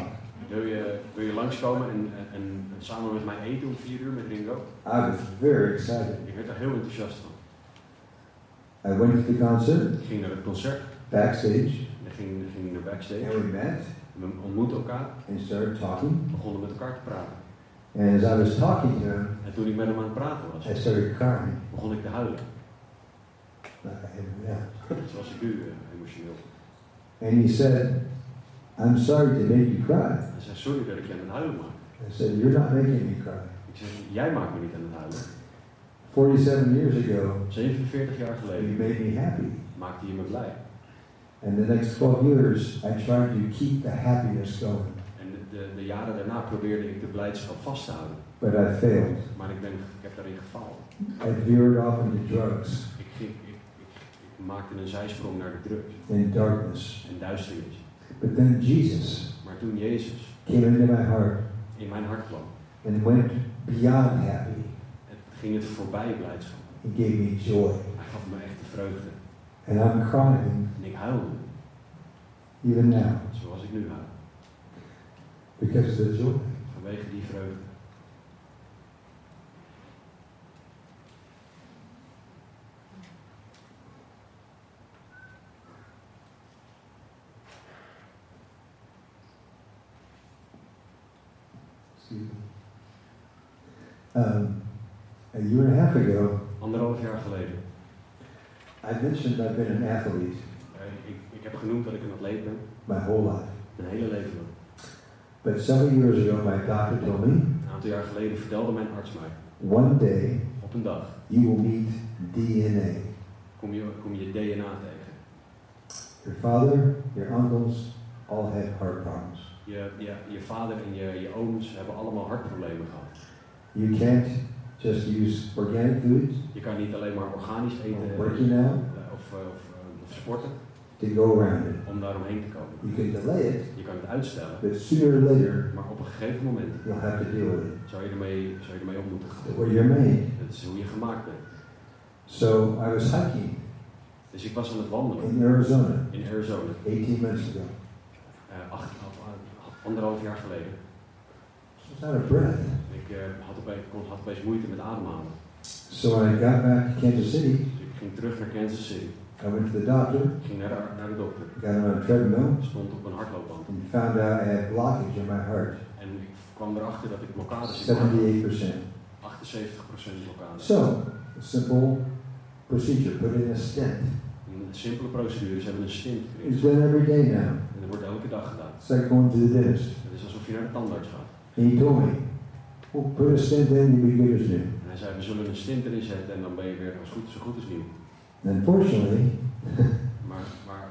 [SPEAKER 5] wil je, wil je langskomen en, en, en samen met mij eten om vier uur met Ringo?
[SPEAKER 4] I was very excited.
[SPEAKER 5] Ik werd daar heel enthousiast van.
[SPEAKER 4] I went to the concert,
[SPEAKER 5] Ik ging naar het concert,
[SPEAKER 4] backstage,
[SPEAKER 5] en ging, ging naar
[SPEAKER 4] and
[SPEAKER 5] backstage.
[SPEAKER 4] we met
[SPEAKER 5] We ontmoetten elkaar,
[SPEAKER 4] and started talking.
[SPEAKER 5] begonnen met elkaar te praten.
[SPEAKER 4] And as I was talking to him,
[SPEAKER 5] En toen ik met hem aan het praten was,
[SPEAKER 4] I started crying.
[SPEAKER 5] begon ik te huilen.
[SPEAKER 4] I had- yeah.
[SPEAKER 5] Zoals ik nu eh, emotioneel.
[SPEAKER 4] And he said, I'm sorry to make you cry.
[SPEAKER 5] Hij zei, sorry dat ik je aan het huilen maak.
[SPEAKER 4] I said, You're not making me cry.
[SPEAKER 5] Ik zeg, jij maakt me niet aan het huilen.
[SPEAKER 4] 47 years ago,
[SPEAKER 5] 47 jaar
[SPEAKER 4] you
[SPEAKER 5] geleden
[SPEAKER 4] made me happy.
[SPEAKER 5] maakte je me blij.
[SPEAKER 4] And the next 12 years, I tried to keep the happiness going,
[SPEAKER 5] En de, de, de jaren daarna probeerde ik de blijdschap vast te houden.
[SPEAKER 4] but I failed.
[SPEAKER 5] Maar ik, ben, ik heb daarin gefaald. Dus
[SPEAKER 4] I veered off into drugs
[SPEAKER 5] Ik, ging, ik, ik, ik maakte een zijsprong naar de drugs
[SPEAKER 4] and darkness.
[SPEAKER 5] en duisternis.
[SPEAKER 4] But then Jesus
[SPEAKER 5] Maar toen Jezus
[SPEAKER 4] came into my heart
[SPEAKER 5] in mijn hart kwam,
[SPEAKER 4] and went beyond happy.
[SPEAKER 5] het ging het voorbij blijdschap.
[SPEAKER 4] He gave me joy.
[SPEAKER 5] Hij gaf me echt de vreugde.
[SPEAKER 4] And I'm crying
[SPEAKER 5] En ik huilde,
[SPEAKER 4] even now
[SPEAKER 5] zoals ik nu huil.
[SPEAKER 4] because of the joy.
[SPEAKER 5] Vanwege die vreugde.
[SPEAKER 4] Excuse me. Um, a year and a half ago,
[SPEAKER 5] Anderhalf jaar geleden.
[SPEAKER 4] I mentioned I've been an athlete
[SPEAKER 5] eh, Ik, ik heb genoemd dat ik een atleet ben.
[SPEAKER 4] my whole life.
[SPEAKER 5] Mijn hele leven lang.
[SPEAKER 4] But several years ago, my doctor told me
[SPEAKER 5] Een aantal jaar geleden vertelde mijn arts mij.
[SPEAKER 4] one day
[SPEAKER 5] Op een dag
[SPEAKER 4] you will meet DNA.
[SPEAKER 5] kom je, kom je DNA tegen.
[SPEAKER 4] Your father, your uncles, all had heart problems.
[SPEAKER 5] Je, je, je vader en je, je ooms hebben allemaal hartproblemen gehad.
[SPEAKER 4] You can't just use organic foods
[SPEAKER 5] Je kan niet alleen maar organisch eten
[SPEAKER 4] Oh, Work
[SPEAKER 5] eh,
[SPEAKER 4] you now
[SPEAKER 5] of, eh, of, eh, of sporten
[SPEAKER 4] to go around it.
[SPEAKER 5] om daaromheen te komen.
[SPEAKER 4] You can delay it,
[SPEAKER 5] Je kan het uitstellen,
[SPEAKER 4] but sooner or later
[SPEAKER 5] maar op een gegeven moment
[SPEAKER 4] you'll have to deal with it.
[SPEAKER 5] zou je ermee, zou je ermee om moeten gaan.
[SPEAKER 4] But where you're made.
[SPEAKER 5] Dat is hoe je gemaakt bent.
[SPEAKER 4] So I was hiking
[SPEAKER 5] Dus ik was aan het wandelen
[SPEAKER 4] in Arizona
[SPEAKER 5] in Arizona,
[SPEAKER 4] 18 months ago.
[SPEAKER 5] eh, acht, eh, anderhalf jaar geleden.
[SPEAKER 4] I was out of breath.
[SPEAKER 5] Ik eh, had, opeens, kon- had opeens moeite met ademhalen.
[SPEAKER 4] So when I got back to Kansas City,
[SPEAKER 5] Dus ik ging terug naar Kansas City.
[SPEAKER 4] I went to the doctor,
[SPEAKER 5] Ik ging naar de, naar de dokter.
[SPEAKER 4] got on a treadmill,
[SPEAKER 5] Ik stond op een hardloopband.
[SPEAKER 4] and found out I had blockage in my heart,
[SPEAKER 5] En ik kwam erachter dat ik blokkades in had.
[SPEAKER 4] 78%.
[SPEAKER 5] 78% blokkades.
[SPEAKER 4] So, a simple procedure, put in a stent.
[SPEAKER 5] Een simpele procedure. Ze hebben een stint
[SPEAKER 4] It's
[SPEAKER 5] gekregen.
[SPEAKER 4] done every day now.
[SPEAKER 5] En dat wordt elke dag gedaan.
[SPEAKER 4] It's like going to the dentist.
[SPEAKER 5] Het is alsof je naar de tandarts gaat.
[SPEAKER 4] And he told me, well, put a stent in and you'll be good as new.
[SPEAKER 5] En hij zei, we zullen een stint erin zetten en dan ben je weer als goed, zo goed als nieuw.
[SPEAKER 4] And unfortunately,
[SPEAKER 5] Maar, maar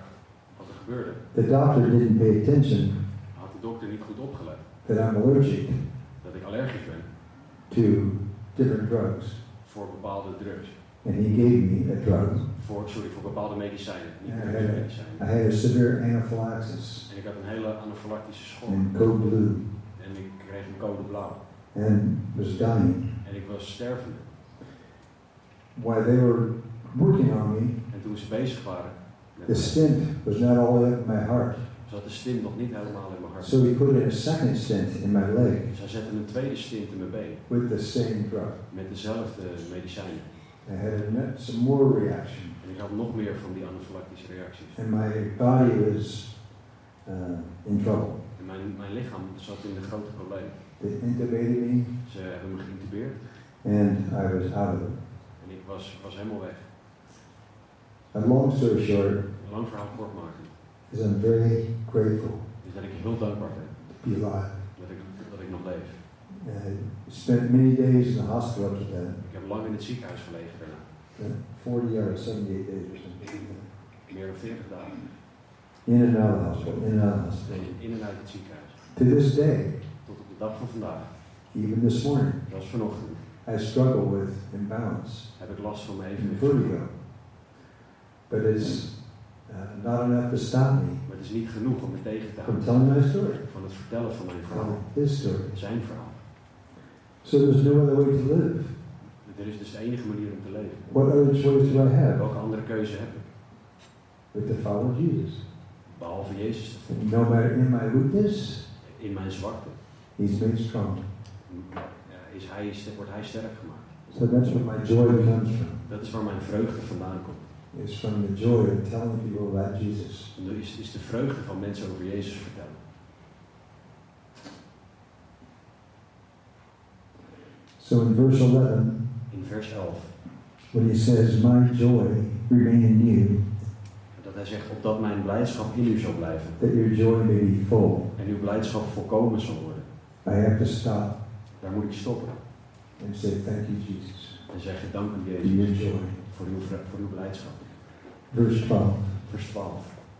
[SPEAKER 5] wat er gebeurde,
[SPEAKER 4] the doctor didn't pay attention
[SPEAKER 5] had de dokter niet goed opgelet.
[SPEAKER 4] that I'm allergic
[SPEAKER 5] Dat ik allergisch ben
[SPEAKER 4] to different drugs.
[SPEAKER 5] voor bepaalde drugs.
[SPEAKER 4] And he gave me a drug.
[SPEAKER 5] Voor, sorry, voor bepaalde medicijnen. Niet
[SPEAKER 4] Ja,
[SPEAKER 5] voor
[SPEAKER 4] ja,
[SPEAKER 5] deze
[SPEAKER 4] ja.
[SPEAKER 5] medicijnen.
[SPEAKER 4] I had a severe anaphylaxis
[SPEAKER 5] En ik had een hele anafylactische schok.
[SPEAKER 4] and code blue
[SPEAKER 5] En ik kreeg een code blauw.
[SPEAKER 4] and was dying.
[SPEAKER 5] En ik was stervende.
[SPEAKER 4] While they were working on me,
[SPEAKER 5] En toen ze bezig waren, met
[SPEAKER 4] the
[SPEAKER 5] mij,
[SPEAKER 4] stent was not all the way up in my heart.
[SPEAKER 5] zat de stint nog niet helemaal in mijn hart.
[SPEAKER 4] So he put in a second stent in my leg
[SPEAKER 5] Zij zetten een tweede stint in mijn been
[SPEAKER 4] with the same drug.
[SPEAKER 5] met dezelfde medicijnen.
[SPEAKER 4] I had a, some more reaction.
[SPEAKER 5] En ik had nog meer van die anafylactische reacties.
[SPEAKER 4] and my body was uh, in trouble.
[SPEAKER 5] En mijn, mijn lichaam zat in een grote probleem.
[SPEAKER 4] They intubated me,
[SPEAKER 5] Ze hebben me geïntubeerd
[SPEAKER 4] and I was out of it.
[SPEAKER 5] en ik was, was helemaal weg.
[SPEAKER 4] A long story short
[SPEAKER 5] Een lang verhaal kort maken.
[SPEAKER 4] is I'm very grateful
[SPEAKER 5] Dus dat ik heel dankbaar ben
[SPEAKER 4] to be alive.
[SPEAKER 5] dat ik, dat ik nog leef.
[SPEAKER 4] Uh, spent many days in the hospital after that.
[SPEAKER 5] Ik heb lang in het ziekenhuis gelegen daarna.
[SPEAKER 4] uh, 40 or 78 days or something. like
[SPEAKER 5] Meer dan 40 dagen.
[SPEAKER 4] that. In and out of the hospital, in and out of the hospital.
[SPEAKER 5] In in en uit het ziekenhuis.
[SPEAKER 4] To this day,
[SPEAKER 5] Tot op de dag van vandaag,
[SPEAKER 4] even this morning,
[SPEAKER 5] zelfs vanochtend,
[SPEAKER 4] I struggle with imbalance
[SPEAKER 5] heb ik last van mijn
[SPEAKER 4] and
[SPEAKER 5] evenwicht.
[SPEAKER 4] vertigo. But it's uh, not enough to stop me
[SPEAKER 5] Maar het is niet genoeg om me tegen te
[SPEAKER 4] from
[SPEAKER 5] houden
[SPEAKER 4] telling my story,
[SPEAKER 5] van het vertellen van mijn verhaal.
[SPEAKER 4] from his story.
[SPEAKER 5] Zijn verhaal.
[SPEAKER 4] So there's no other way to live.
[SPEAKER 5] Er is dus de enige manier om te leven.
[SPEAKER 4] What other choice do I have
[SPEAKER 5] Welke andere keuze heb ik?
[SPEAKER 4] but to follow Jesus?
[SPEAKER 5] Behalve Jezus.
[SPEAKER 4] And no matter in my weakness,
[SPEAKER 5] In mijn zwakte
[SPEAKER 4] he's made strong.
[SPEAKER 5] eh, is hij, st- wordt hij sterk gemaakt.
[SPEAKER 4] So that's where my joy comes from.
[SPEAKER 5] Dat is waar mijn vreugde vandaan komt.
[SPEAKER 4] It's from the joy of telling people about Jesus.
[SPEAKER 5] En dat is, is de vreugde van mensen over Jezus vertellen.
[SPEAKER 4] So in verse 11,
[SPEAKER 5] In vers 11.
[SPEAKER 4] when he says, My joy remain in you,
[SPEAKER 5] Dat hij zegt, opdat mijn blijdschap in u zal blijven.
[SPEAKER 4] that your joy may be full,
[SPEAKER 5] En uw blijdschap volkomen zal worden.
[SPEAKER 4] I have to stop
[SPEAKER 5] Daar moet ik stoppen.
[SPEAKER 4] and say, Thank you, Jesus,
[SPEAKER 5] En zeggen, dank u
[SPEAKER 4] for your
[SPEAKER 5] Jezus
[SPEAKER 4] joy.
[SPEAKER 5] voor uw, vre- voor uw blijdschap.
[SPEAKER 4] Verse 12,
[SPEAKER 5] Vers 12.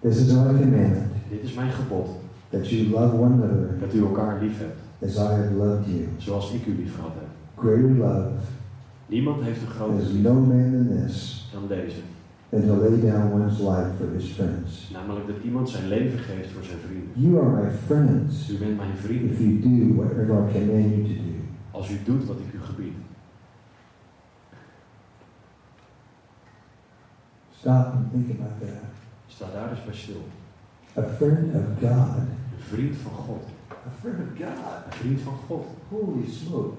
[SPEAKER 4] This is my commandment,
[SPEAKER 5] Dit is mijn gebod.
[SPEAKER 4] that you love one another
[SPEAKER 5] Dat u elkaar lief hebt.
[SPEAKER 4] as I have loved you.
[SPEAKER 5] Zoals ik u lief gehad heb.
[SPEAKER 4] Greater love
[SPEAKER 5] Niemand heeft een grotere
[SPEAKER 4] has
[SPEAKER 5] liefde
[SPEAKER 4] no man than this,
[SPEAKER 5] dan deze.
[SPEAKER 4] than to lay down one's life for his friends.
[SPEAKER 5] Namelijk dat iemand zijn leven geeft voor zijn vrienden.
[SPEAKER 4] You are my friends
[SPEAKER 5] Dus U bent mijn
[SPEAKER 4] if
[SPEAKER 5] vrienden
[SPEAKER 4] you do whatever I command you to do.
[SPEAKER 5] als u doet wat ik u gebied.
[SPEAKER 4] Stop and think about that.
[SPEAKER 5] Sta daar eens bij stil.
[SPEAKER 4] A friend of God.
[SPEAKER 5] Een vriend van God.
[SPEAKER 4] A friend of God.
[SPEAKER 5] Een vriend van God.
[SPEAKER 4] Holy smoke.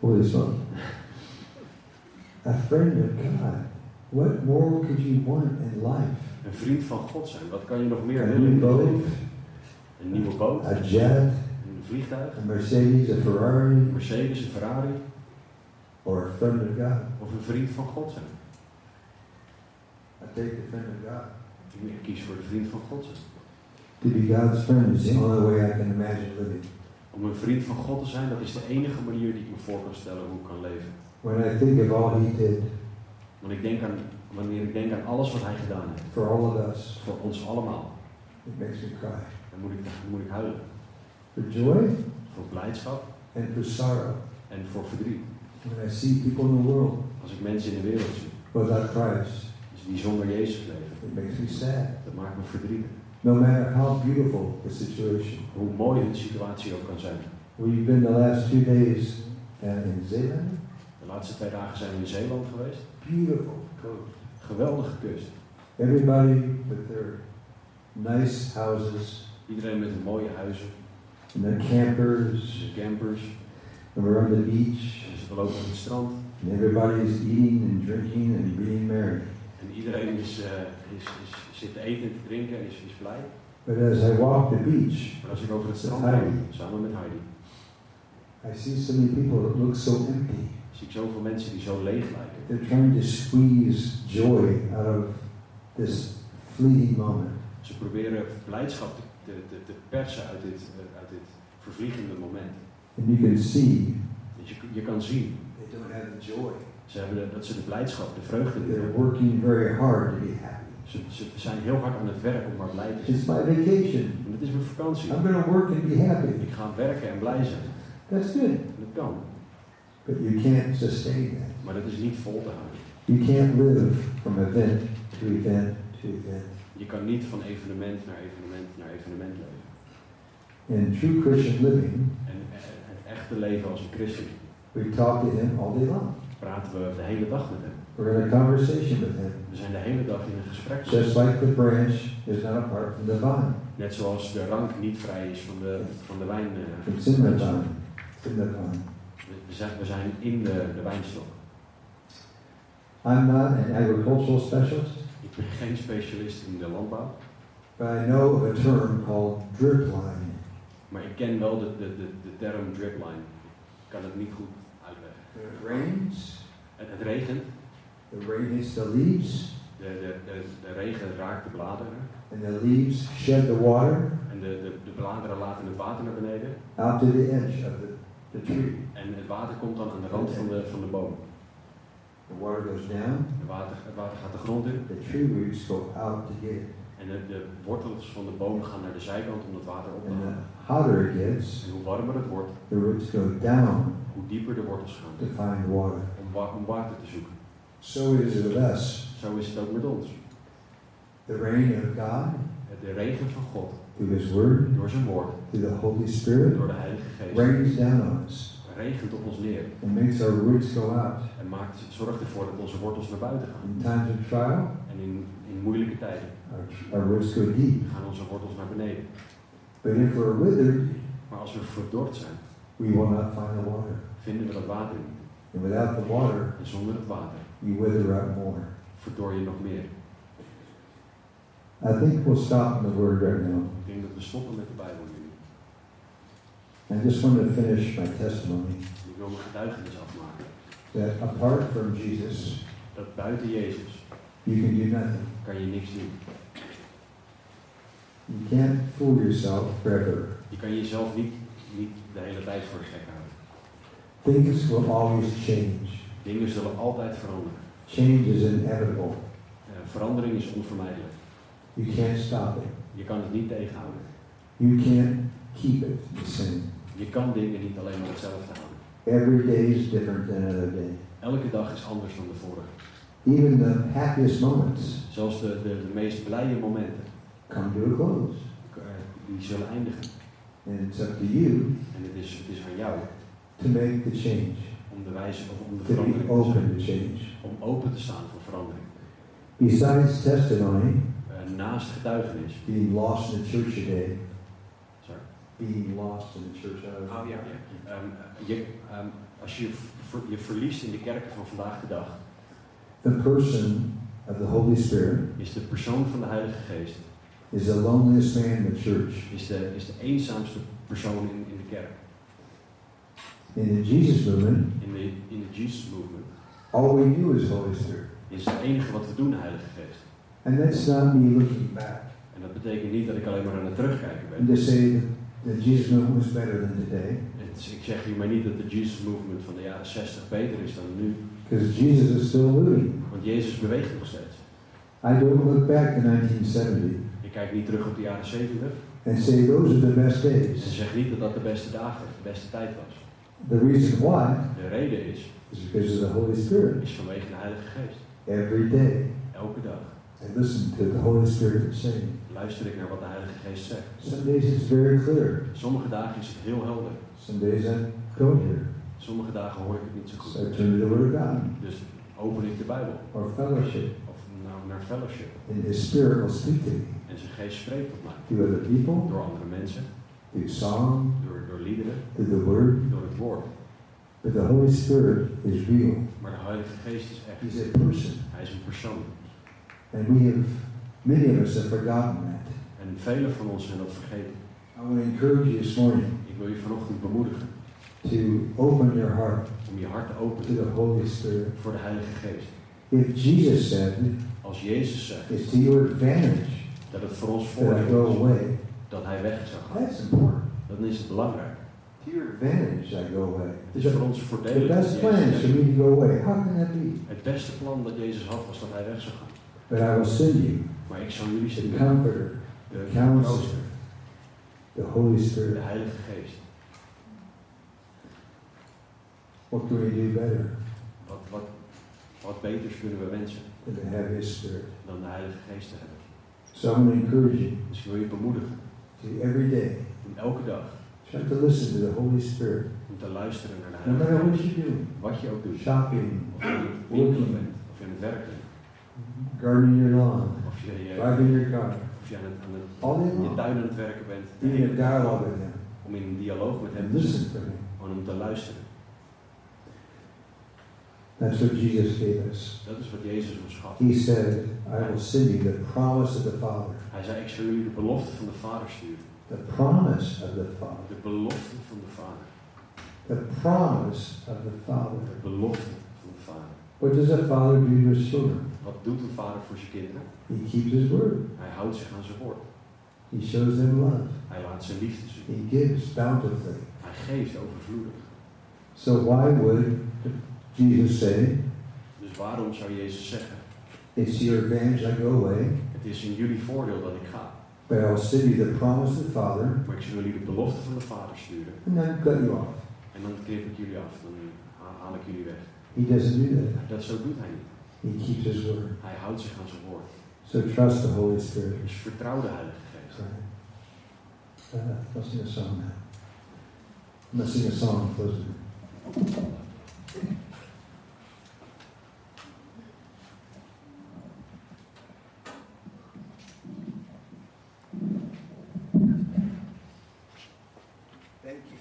[SPEAKER 4] Holy smoke. A friend of God. What more could you want in life?
[SPEAKER 5] Een vriend van God zijn. Wat kan je nog meer
[SPEAKER 4] Een
[SPEAKER 5] willen in
[SPEAKER 4] nieuwe
[SPEAKER 5] het
[SPEAKER 4] boot.
[SPEAKER 5] leven? Een nieuwe boot.
[SPEAKER 4] A jet,
[SPEAKER 5] Een vliegtuig.
[SPEAKER 4] a Mercedes, a
[SPEAKER 5] Een
[SPEAKER 4] Ferrari,
[SPEAKER 5] Mercedes, een Ferrari.
[SPEAKER 4] or a friend of God?
[SPEAKER 5] Of een vriend van God zijn.
[SPEAKER 4] I take the friend of God.
[SPEAKER 5] Ik kies voor de vriend van God zijn.
[SPEAKER 4] To be God's friend is the only way I can imagine living.
[SPEAKER 5] Om een vriend van God te zijn, dat is de enige manier die ik me voor kan stellen hoe ik kan leven.
[SPEAKER 4] When I think of all He did
[SPEAKER 5] Want ik denk aan, wanneer ik denk aan alles wat hij gedaan heeft.
[SPEAKER 4] for all of us,
[SPEAKER 5] Voor ons allemaal.
[SPEAKER 4] it makes me cry.
[SPEAKER 5] Dan moet ik, dan moet ik huilen.
[SPEAKER 4] For joy
[SPEAKER 5] Voor blijdschap
[SPEAKER 4] and for sorrow.
[SPEAKER 5] en voor verdriet.
[SPEAKER 4] When I see people in the world
[SPEAKER 5] Als ik mensen in de wereld zie
[SPEAKER 4] without Christ,
[SPEAKER 5] dus die zonder Jezus leven,
[SPEAKER 4] it makes me sad.
[SPEAKER 5] dat maakt me verdrietig.
[SPEAKER 4] No matter how beautiful the situation.
[SPEAKER 5] Hoe mooi hun situatie ook kan zijn.
[SPEAKER 4] We've been the last two days uh, in Zeeland.
[SPEAKER 5] De laatste twee dagen zijn we in Zeeland geweest.
[SPEAKER 4] Beautiful coast.
[SPEAKER 5] Geweldige kust.
[SPEAKER 4] Everybody with their nice houses
[SPEAKER 5] Iedereen met een mooie huizen,
[SPEAKER 4] and their campers.
[SPEAKER 5] zijn campers.
[SPEAKER 4] And we're on the beach.
[SPEAKER 5] En ze lopen op het strand.
[SPEAKER 4] And everybody's eating and drinking and being merry.
[SPEAKER 5] En iedereen is, eh, is, is, zit te eten en te drinken en is, is blij.
[SPEAKER 4] But as I walk the beach,
[SPEAKER 5] Maar als ik over het strand
[SPEAKER 4] Heidi.
[SPEAKER 5] rijd, samen met Heidi,
[SPEAKER 4] I see so many people that look so empty.
[SPEAKER 5] zie ik zoveel mensen die zo leeg lijken.
[SPEAKER 4] They're trying to squeeze joy out of this fleeting moment.
[SPEAKER 5] Ze proberen blijdschap te, te, te, te persen uit dit, eh, uit dit vervliegende moment.
[SPEAKER 4] And you can see
[SPEAKER 5] Dus je, je kan zien
[SPEAKER 4] they don't have the joy.
[SPEAKER 5] ze hebben de- dat ze de blijdschap, de vreugde niet
[SPEAKER 4] They're
[SPEAKER 5] hebben.
[SPEAKER 4] working very hard to be happy.
[SPEAKER 5] Ze, ze zijn heel hard aan het werk om maar blij te zijn.
[SPEAKER 4] It's my vacation.
[SPEAKER 5] En dat is mijn vakantie.
[SPEAKER 4] I'm going to work and be happy.
[SPEAKER 5] Ik ga werken en blij zijn.
[SPEAKER 4] That's good.
[SPEAKER 5] Dat kan.
[SPEAKER 4] But you can't sustain that.
[SPEAKER 5] Maar dat is niet vol te houden.
[SPEAKER 4] You can't live from event to event to event.
[SPEAKER 5] Je kan niet van evenement naar evenement naar evenement leven.
[SPEAKER 4] In true Christian living,
[SPEAKER 5] En eh, het echte leven als een christen
[SPEAKER 4] we talk to him all day long.
[SPEAKER 5] praten we de hele dag met hem.
[SPEAKER 4] We're in a conversation with him.
[SPEAKER 5] We zijn de hele dag in een gesprek.
[SPEAKER 4] Just like the branch is not apart from the vine.
[SPEAKER 5] Net zoals de rank niet vrij is van de, van de wijn. eh,
[SPEAKER 4] It's in the vine. It's in the vine.
[SPEAKER 5] We- We zijn, we zijn in de, de wijnstok.
[SPEAKER 4] I'm not an agricultural specialist,
[SPEAKER 5] Ik ben geen specialist in de landbouw,
[SPEAKER 4] but I know of a term called drip line.
[SPEAKER 5] maar ik ken wel de, de, de, de term dripline. Ik kan het niet goed uitleggen.
[SPEAKER 4] When it rains,
[SPEAKER 5] Het, het regent,
[SPEAKER 4] the rain hits the leaves,
[SPEAKER 5] de, de, de, de regen raakt de bladeren
[SPEAKER 4] and the leaves shed the water,
[SPEAKER 5] en en de, de, de bladeren laten het water naar beneden.
[SPEAKER 4] out to the edge of the, the tree.
[SPEAKER 5] En het water komt dan aan de rand van de, van de boom.
[SPEAKER 4] The water goes down,
[SPEAKER 5] Het water, het water gaat de grond in
[SPEAKER 4] the tree roots go out to get it.
[SPEAKER 5] en de, de wortels van de boom gaan naar de zijkant om dat water op te
[SPEAKER 4] And the
[SPEAKER 5] halen.
[SPEAKER 4] hotter it gets,
[SPEAKER 5] En hoe warmer het wordt,
[SPEAKER 4] the roots go down
[SPEAKER 5] hoe dieper de wortels gaan
[SPEAKER 4] to find water.
[SPEAKER 5] om, wa- om water te zoeken.
[SPEAKER 4] So it is with us.
[SPEAKER 5] Zo is het ook met ons.
[SPEAKER 4] The rain of God,
[SPEAKER 5] De regen van God,
[SPEAKER 4] through His Word,
[SPEAKER 5] door zijn woord,
[SPEAKER 4] through the Holy Spirit,
[SPEAKER 5] door de Heilige Geest,
[SPEAKER 4] rains down on us
[SPEAKER 5] regent op ons neer
[SPEAKER 4] and makes our roots go out.
[SPEAKER 5] en maakt, zorgt ervoor dat onze wortels naar buiten gaan.
[SPEAKER 4] In times of trial,
[SPEAKER 5] En in, in moeilijke tijden
[SPEAKER 4] our, our roots go deep.
[SPEAKER 5] gaan onze wortels naar beneden.
[SPEAKER 4] But if we're withered,
[SPEAKER 5] Maar als we verdord zijn,
[SPEAKER 4] we will not find the water.
[SPEAKER 5] vinden we dat water niet.
[SPEAKER 4] And without the water,
[SPEAKER 5] En zonder het water
[SPEAKER 4] you wither up more.
[SPEAKER 5] verdor je nog meer.
[SPEAKER 4] I think we'll stop in the Word right now.
[SPEAKER 5] Ik denk dat we stoppen met de Bijbel nu.
[SPEAKER 4] I just want to finish my testimony
[SPEAKER 5] Ik wil mijn getuigenis afmaken.
[SPEAKER 4] that apart from Jesus,
[SPEAKER 5] Dat buiten Jezus
[SPEAKER 4] you can do nothing.
[SPEAKER 5] kan je niks doen.
[SPEAKER 4] You can't fool yourself forever.
[SPEAKER 5] Je kan jezelf niet, niet de hele tijd voor de gek houden.
[SPEAKER 4] Things will always change.
[SPEAKER 5] Dingen zullen altijd veranderen.
[SPEAKER 4] Change is inevitable.
[SPEAKER 5] Eh, verandering is onvermijdelijk.
[SPEAKER 4] You can't stop it.
[SPEAKER 5] Je kan het niet tegenhouden.
[SPEAKER 4] You can't keep it the same.
[SPEAKER 5] Je kan dingen niet alleen maar hetzelfde houden.
[SPEAKER 4] Every day is different than another day.
[SPEAKER 5] Elke dag is anders dan de vorige.
[SPEAKER 4] Even the happiest moments
[SPEAKER 5] Zelfs de, de, de meest blije momenten,
[SPEAKER 4] come to a close.
[SPEAKER 5] eh, die zullen eindigen.
[SPEAKER 4] And it's up to you
[SPEAKER 5] En het is, het is aan jou
[SPEAKER 4] to make the change,
[SPEAKER 5] om de wijze of om de
[SPEAKER 4] to be
[SPEAKER 5] verandering te zijn.
[SPEAKER 4] open to change.
[SPEAKER 5] Om open te staan voor verandering.
[SPEAKER 4] Besides testimony,
[SPEAKER 5] Eh, naast getuigenis.
[SPEAKER 4] being lost in the church today,
[SPEAKER 5] Sorry.
[SPEAKER 4] being lost in the church. uh,
[SPEAKER 5] Oh, ja. ja. Ehm, je, ehm, als je ver- je verliest in de kerken van vandaag de dag,
[SPEAKER 4] The person of the Holy Spirit
[SPEAKER 5] is de persoon van de Heilige Geest
[SPEAKER 4] is the loneliest man in the church.
[SPEAKER 5] is de, is de eenzaamste persoon in, in de kerk.
[SPEAKER 4] In the Jesus movement,
[SPEAKER 5] In de, in de Jesus Movement
[SPEAKER 4] all we do is Holy Spirit.
[SPEAKER 5] is het enige wat we doen de Heilige Geest.
[SPEAKER 4] And that's not me looking back
[SPEAKER 5] En dat betekent niet dat ik alleen maar aan het terugkijken ben.
[SPEAKER 4] and to say that the Jesus movement was better than today,
[SPEAKER 5] Het is- ik zeg hiermee niet dat de Jesus Movement van de jaren 60 beter is dan nu.
[SPEAKER 4] because Jesus is still moving.
[SPEAKER 5] Want Jezus beweegt nog steeds.
[SPEAKER 4] I don't look back to 1970
[SPEAKER 5] Ik kijk niet terug op de jaren 70
[SPEAKER 4] and say those are the best
[SPEAKER 5] en
[SPEAKER 4] days.
[SPEAKER 5] zeg niet dat dat de beste dagen, de beste tijd was.
[SPEAKER 4] The reason why
[SPEAKER 5] De reden is,
[SPEAKER 4] is because of the Holy Spirit
[SPEAKER 5] is vanwege de Heilige Geest.
[SPEAKER 4] every day.
[SPEAKER 5] Elke dag
[SPEAKER 4] I listen to the Holy Spirit saying.
[SPEAKER 5] luister ik naar wat de Heilige Geest zegt.
[SPEAKER 4] Some days it's very clear.
[SPEAKER 5] Sommige dagen is het heel helder.
[SPEAKER 4] Some days I don't hear.
[SPEAKER 5] Sommige dagen hoor ik het niet zo
[SPEAKER 4] So
[SPEAKER 5] goed.
[SPEAKER 4] I turn to the Word of God
[SPEAKER 5] Dus open ik de Bijbel
[SPEAKER 4] or fellowship,
[SPEAKER 5] of naar, naar fellowship.
[SPEAKER 4] and His Spirit will speak to me
[SPEAKER 5] En zijn geest spreekt tot mij.
[SPEAKER 4] through other people,
[SPEAKER 5] Door andere mensen,
[SPEAKER 4] through song,
[SPEAKER 5] door, door liederen,
[SPEAKER 4] through the Word.
[SPEAKER 5] door het woord.
[SPEAKER 4] But the Holy Spirit is real.
[SPEAKER 5] Maar de Heilige Geest is echt.
[SPEAKER 4] He's a person,
[SPEAKER 5] Hij is een persoon.
[SPEAKER 4] and we have many of us have forgotten that.
[SPEAKER 5] En velen van ons zijn dat vergeten.
[SPEAKER 4] I want to encourage you this morning
[SPEAKER 5] Ik wil je vanochtend bemoedigen
[SPEAKER 4] to open your heart
[SPEAKER 5] om je hart te
[SPEAKER 4] to
[SPEAKER 5] openen
[SPEAKER 4] the Holy Spirit.
[SPEAKER 5] voor de Heilige Geest.
[SPEAKER 4] If Jesus said,
[SPEAKER 5] Als Jezus zegt
[SPEAKER 4] "It's to your advantage
[SPEAKER 5] dat het voor ons
[SPEAKER 4] that I go
[SPEAKER 5] voordeel is
[SPEAKER 4] away,"
[SPEAKER 5] dat hij weg zou gaan,
[SPEAKER 4] that's important.
[SPEAKER 5] dan is het belangrijk.
[SPEAKER 4] To your advantage, I go away.
[SPEAKER 5] Het is voor ons voordelig.
[SPEAKER 4] The
[SPEAKER 5] dat
[SPEAKER 4] best
[SPEAKER 5] Jezus
[SPEAKER 4] plan is for
[SPEAKER 5] weg-
[SPEAKER 4] me to go away. How can that be?
[SPEAKER 5] Het beste plan dat Jezus had was dat hij weg zou gaan.
[SPEAKER 4] But I will send you
[SPEAKER 5] Maar ik zou jullie
[SPEAKER 4] the
[SPEAKER 5] zeggen,
[SPEAKER 4] Comforter,
[SPEAKER 5] de
[SPEAKER 4] the Counselor,
[SPEAKER 5] trooster,
[SPEAKER 4] the Holy
[SPEAKER 5] de
[SPEAKER 4] Spirit.
[SPEAKER 5] Heilige Geest.
[SPEAKER 4] What can we do better
[SPEAKER 5] Wat, wat, wat beters kunnen we wensen
[SPEAKER 4] than to have His Spirit?
[SPEAKER 5] dan de Heilige Geest te hebben?
[SPEAKER 4] So I'm going to encourage you
[SPEAKER 5] Dus ik wil je bemoedigen
[SPEAKER 4] to every day
[SPEAKER 5] om elke dag
[SPEAKER 4] try to listen to the Holy Spirit.
[SPEAKER 5] om te luisteren naar de
[SPEAKER 4] No
[SPEAKER 5] Heilige
[SPEAKER 4] matter
[SPEAKER 5] Geest.
[SPEAKER 4] what you do,
[SPEAKER 5] Wat je ook doet.
[SPEAKER 4] shopping,
[SPEAKER 5] Of je aan het winkelen bent, of je aan het werk bent,
[SPEAKER 4] gardening your lawn,
[SPEAKER 5] of je, eh,
[SPEAKER 4] driving your car,
[SPEAKER 5] of je aan het, aan het-
[SPEAKER 4] all day
[SPEAKER 5] in je
[SPEAKER 4] long,
[SPEAKER 5] tuin aan het werken bent.
[SPEAKER 4] being in dialogue with Him
[SPEAKER 5] Om in een dialoog met hem
[SPEAKER 4] and
[SPEAKER 5] te zijn.
[SPEAKER 4] listen for Him.
[SPEAKER 5] Gewoon om te luisteren.
[SPEAKER 4] That's what Jesus gave us.
[SPEAKER 5] Dat is wat Jezus ons gaf.
[SPEAKER 4] He said, I will send you the promise of the Father.
[SPEAKER 5] Hij zei, ik zal jullie de belofte van de Vader sturen.
[SPEAKER 4] The promise of the Father.
[SPEAKER 5] De belofte van de Vader.
[SPEAKER 4] The promise of the Father.
[SPEAKER 5] De belofte van de Vader.
[SPEAKER 4] What does a father do to his children?
[SPEAKER 5] Wat doet een vader voor zijn kinderen?
[SPEAKER 4] He keeps his word.
[SPEAKER 5] Hij houdt zich aan zijn woord.
[SPEAKER 4] He shows them love.
[SPEAKER 5] Hij laat zijn liefde zien.
[SPEAKER 4] He gives bountifully.
[SPEAKER 5] Hij geeft overvloedig.
[SPEAKER 4] So why would Jesus say,
[SPEAKER 5] Dus waarom zou Jezus zeggen,
[SPEAKER 4] It's to your advantage I go away,
[SPEAKER 5] het is in jullie voordeel dat ik ga,
[SPEAKER 4] but I will send you the promise of the Father,
[SPEAKER 5] maar ik zal jullie de belofte van de Vader sturen
[SPEAKER 4] and then cut you off?
[SPEAKER 5] en dan knip ik jullie af, dan ha- haal ik jullie weg.
[SPEAKER 4] He doesn't do that.
[SPEAKER 5] Dat zo doet hij niet.
[SPEAKER 4] He keeps his word.
[SPEAKER 5] Hij houdt zich aan zijn woord.
[SPEAKER 4] So trust the Holy Spirit.
[SPEAKER 5] Dus vertrouw de Heilige Geest.
[SPEAKER 4] Sorry. Uh, I'll sing a song now. I'm going to sing a song closing.
[SPEAKER 6] Thank you.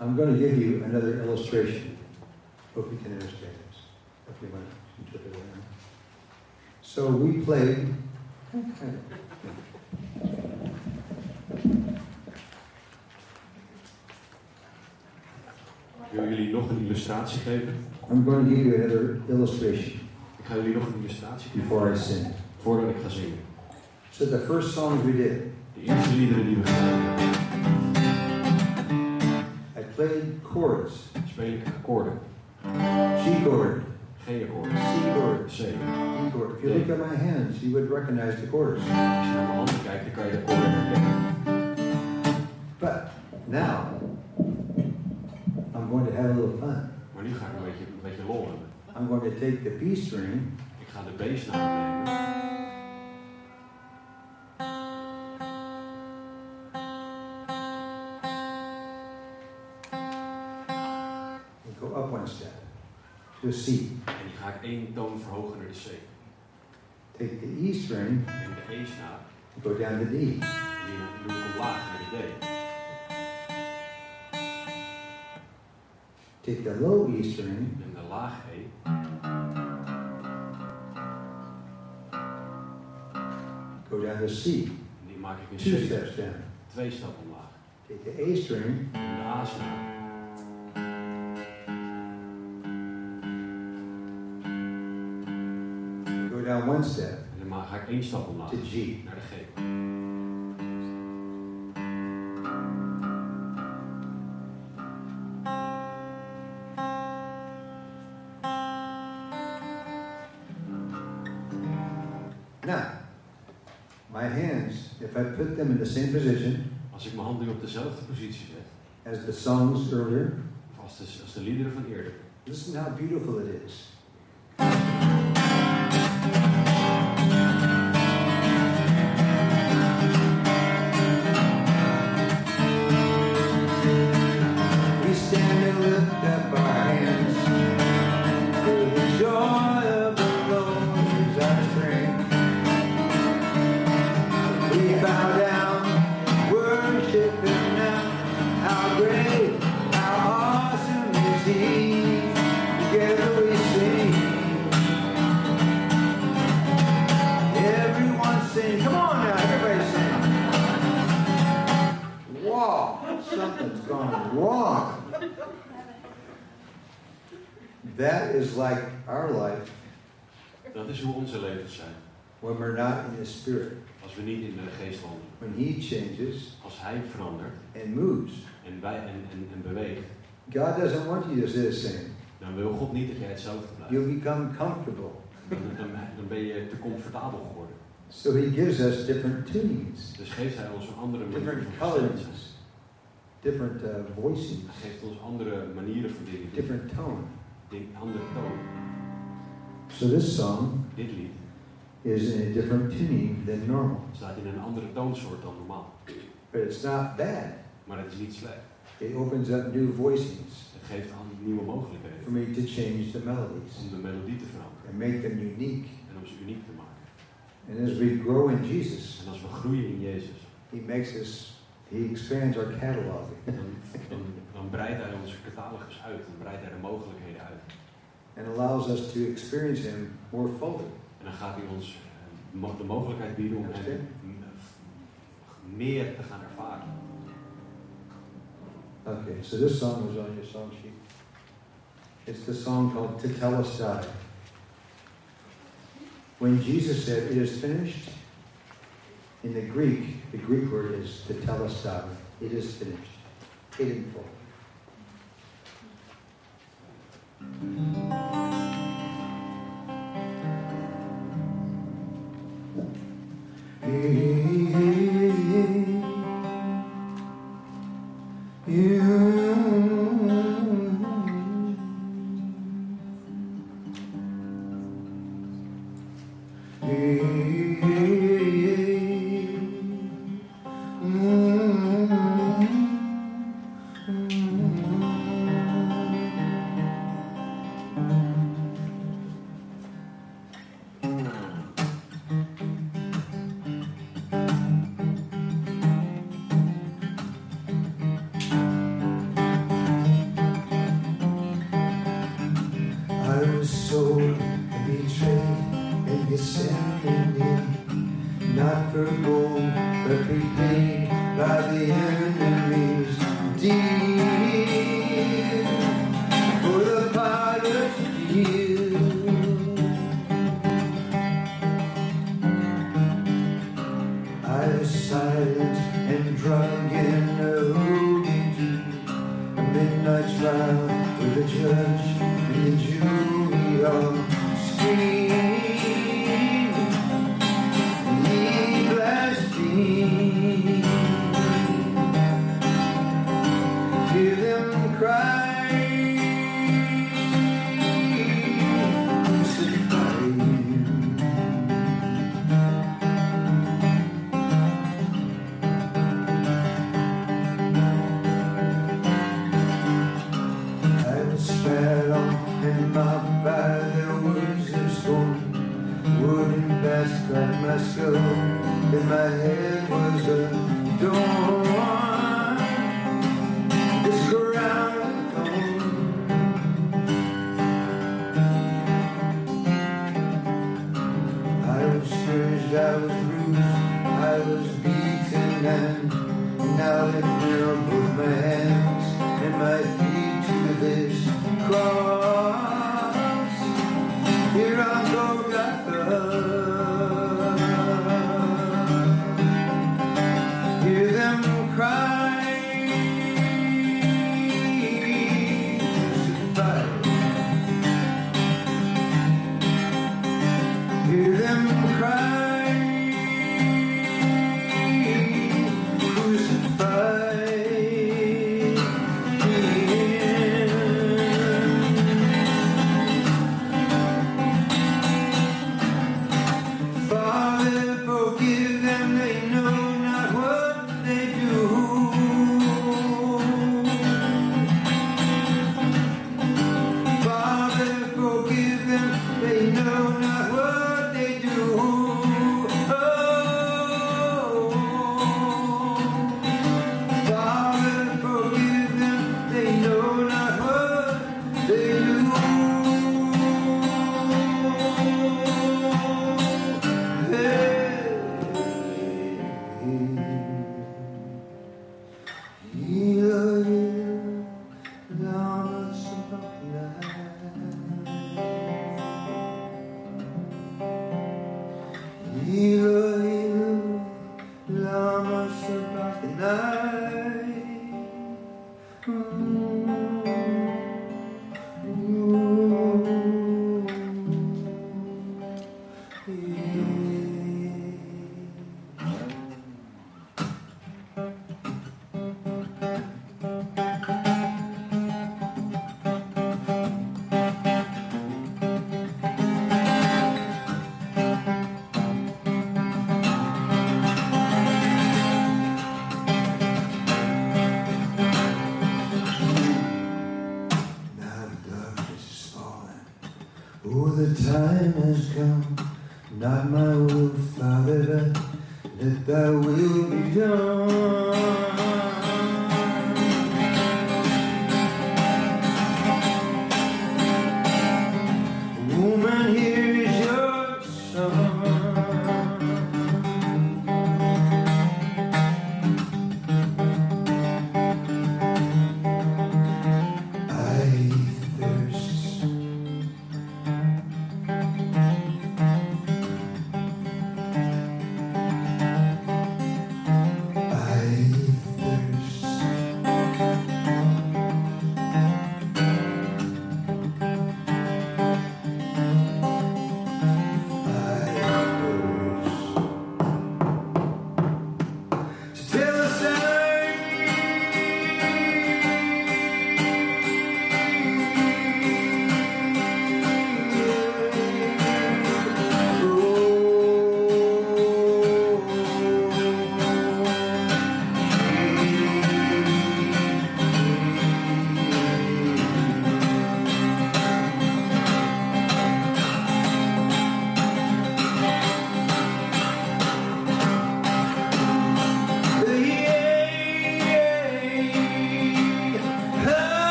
[SPEAKER 4] I'm going to give you another illustration. Hope you can understand this. Hope you might interpret it. So we played.
[SPEAKER 5] Ik wil jullie nog een illustratie geven.
[SPEAKER 4] I'm going to give you another illustration
[SPEAKER 5] Ik ga jullie nog een illustratie geven
[SPEAKER 4] before I sing.
[SPEAKER 5] voordat ik ga zingen.
[SPEAKER 4] So the first song we did,
[SPEAKER 5] De eerste liederen die we gaan hebben,
[SPEAKER 4] I played chords:
[SPEAKER 5] speel ik akkoorden.
[SPEAKER 4] G chord,
[SPEAKER 5] G-akkoord,
[SPEAKER 4] C chord,
[SPEAKER 5] C. Als
[SPEAKER 4] D chord. If you look at my hands, you would recognize the chords.
[SPEAKER 5] je naar mijn handen kijkt, dan kan je de akkoorden herkennen.
[SPEAKER 4] But now, I'm going to have a little fun.
[SPEAKER 5] Maar nu ga ik een beetje, een beetje lol hebben.
[SPEAKER 4] I'm going to take the B string
[SPEAKER 5] Ik ga de beestnaam nemen
[SPEAKER 4] and go up one step to a C.
[SPEAKER 5] en die ga ik één toon verhogen naar de C.
[SPEAKER 4] Take the E string
[SPEAKER 5] En de E-snaar,
[SPEAKER 4] and go down to D.
[SPEAKER 5] die doe ik omlaag naar de D.
[SPEAKER 4] Take the low E string
[SPEAKER 5] En de laag E
[SPEAKER 4] go down to C.
[SPEAKER 5] Die maak ik
[SPEAKER 4] Two
[SPEAKER 5] in C.
[SPEAKER 4] steps down.
[SPEAKER 5] Twee stappen omlaag.
[SPEAKER 4] Take the A string
[SPEAKER 5] En de A-snaar.
[SPEAKER 4] go down one step
[SPEAKER 5] En dan ma- ga ik één stap omlaag.
[SPEAKER 4] to G.
[SPEAKER 5] Naar de G.
[SPEAKER 4] Now, my hands, if I put them in the same position
[SPEAKER 5] Als ik mijn handen nu op dezelfde positie zet,
[SPEAKER 4] as the songs earlier,
[SPEAKER 5] of als de, als de liederen van eerder,
[SPEAKER 4] listen how beautiful it is. We stand and lift up our hands for the joy of the Lord is our strength. We bow down, worship Him now. How great, how awesome is He? Together we sing. Everyone sing. Come on now, everybody sing. Wow, something's gone wrong. That is like our life
[SPEAKER 5] dat is hoe onze levens zijn.
[SPEAKER 4] when we're not in the spirit.
[SPEAKER 5] Als we niet in de geest wandelen.
[SPEAKER 4] When He changes
[SPEAKER 5] Als hij verandert
[SPEAKER 4] and moves,
[SPEAKER 5] en, wij, en, en, en beweegt,
[SPEAKER 4] God doesn't want you to stay the same.
[SPEAKER 5] dan wil God niet dat jij hetzelfde blijft.
[SPEAKER 4] You'll become comfortable.
[SPEAKER 5] Dan, dan, dan ben je te comfortabel geworden.
[SPEAKER 4] So He gives us different tunings,
[SPEAKER 5] Dus geeft hij ons een andere manier
[SPEAKER 4] different
[SPEAKER 5] van
[SPEAKER 4] colorings,
[SPEAKER 5] verstand.
[SPEAKER 4] different uh, voices,
[SPEAKER 5] Hij geeft ons andere manieren van dingen. doen.
[SPEAKER 4] different tone.
[SPEAKER 5] Ding, andere toon.
[SPEAKER 4] So this song
[SPEAKER 5] Dit lied
[SPEAKER 4] is in a different tuning than normal,
[SPEAKER 5] staat in een andere toonsoort dan normaal.
[SPEAKER 4] but it's not bad.
[SPEAKER 5] Maar het is niet slecht.
[SPEAKER 4] It opens up new voicings
[SPEAKER 5] Het geeft aan nieuwe
[SPEAKER 4] for
[SPEAKER 5] mogelijkheden
[SPEAKER 4] me to change the melodies
[SPEAKER 5] om de melodie te veranderen
[SPEAKER 4] and make them unique.
[SPEAKER 5] en om ze uniek te maken.
[SPEAKER 4] And as we grow in Jesus,
[SPEAKER 5] En als we groeien in Jezus,
[SPEAKER 4] He makes us, He expands our catalog.
[SPEAKER 5] dan, dan, dan breidt hij onze catalogus uit, dan breidt hij de mogelijkheden uit.
[SPEAKER 4] and allows us to experience Him more fully.
[SPEAKER 5] En dan gaat hij ons eh, mo- de mogelijkheid bieden om hem eh,
[SPEAKER 6] meer te gaan ervaren.
[SPEAKER 4] Okay, so this song was on your song sheet. It's the song called Tetelestai. When Jesus said, It is finished, in the Greek, the Greek word is Tetelestai. It is finished. It in full.
[SPEAKER 2] Mm-hmm.
[SPEAKER 4] I was sold and betrayed and you sent me not for gold but repaid by the enemy's deed for the pilot's field. I was silent and drunk in a hoodoo a midnight trial with the judge and the jury all scream. Ye blaspheme. Hear them cry. Crucify him. I was spat on and mocked by the winds of storm. Wooden bats by my skull, and my head was a dawn. This ground I was scourged, I was bruised, I was beaten, and now they fill both my hands and my feet to this cross. Here I go, Golgotha. Hear them cry. Crucified. Hear them cry, crucify him. Father, forgive them; they know not what they do. Father, forgive them, they know not what they do. Oh, Father, forgive them, they know not what they do. Hey, healer, healer. Now it's about night. Healer, healer, now it's about the night. Ooh. Ooh. Yeah. Now the darkness is falling. Oh, the time has come. Not my will, Father, but let thy will be done. Woman, here is your son. Oh,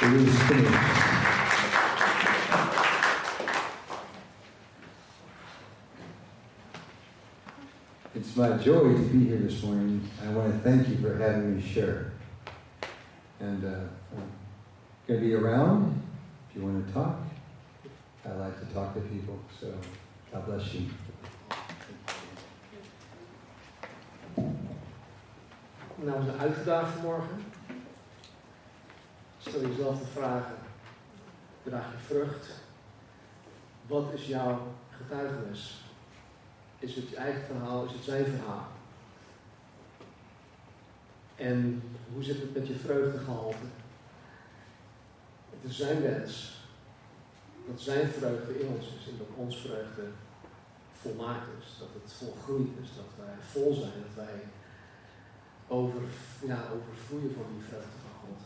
[SPEAKER 4] There is a stage. It's my joy to be here this morning. I want to thank you for having me share. And uh, I'm going to be around if you want to talk. I like to talk to people, so God bless you.
[SPEAKER 6] Nou, we zijn uitgedaagd vanmorgen. Stel jezelf de vragen. Draag je vrucht? Wat is jouw getuigenis? Is het je eigen verhaal? Is het zijn verhaal? En hoe zit het met je vreugdegehalte? Het is zijn wens dat zijn vreugde in ons is en dat ons vreugde volmaakt is. Dat het volgroeid is, dat wij vol zijn, dat wij over, ja, overvloeien van die vreugde van God.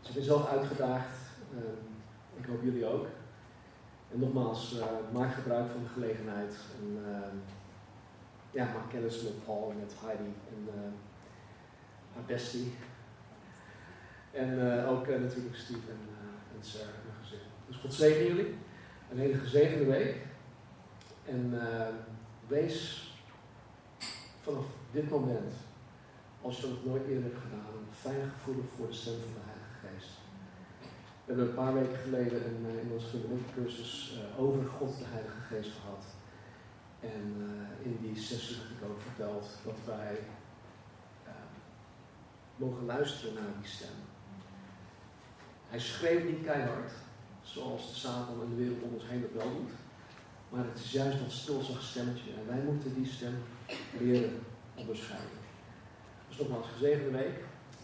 [SPEAKER 6] Dus ik ben zelf uitgedaagd. eh, ik hoop jullie ook. En nogmaals, eh, maak gebruik van de gelegenheid. En, eh, ja, maak kennis met Paul en dus met Heidi en eh, haar bestie. En eh, ook eh, natuurlijk Steve en, eh, en Sarah en hun gezin. Dus God zegen jullie. Een hele gezegende week. En eh, wees vanaf dit moment, als je dat nog nooit eerder hebt gedaan, fijn gevoelig voor de stem van de Heilige Geest. We hebben een paar weken geleden een, eh, in onze fundamentencursus eh over God de Heilige Geest gehad. En eh, in die sessie heb ik ook verteld dat wij eh, mogen luisteren naar die stem. Hij schreeuwt niet keihard, zoals de Satan en de wereld om ons heen dat wel doet. Maar het is juist dat stilzacht stemmetje. En wij moeten die stem leren onderscheiden. Dus nogmaals, gezegende week.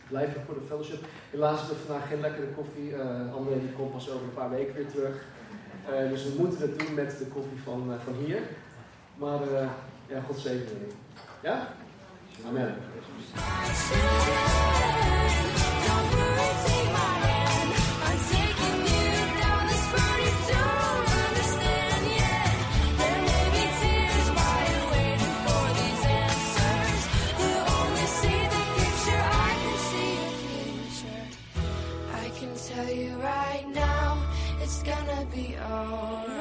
[SPEAKER 6] Blijf er voor de fellowship. Helaas hebben we vandaag geen lekkere koffie. Eh André die komt pas over een paar weken weer terug. Eh, dus we moeten het doen met de koffie van, eh, van hier. Maar eh, ja, God zegen jullie. Ja? Amen.
[SPEAKER 7] I can Tell you right now, it's gonna be alright.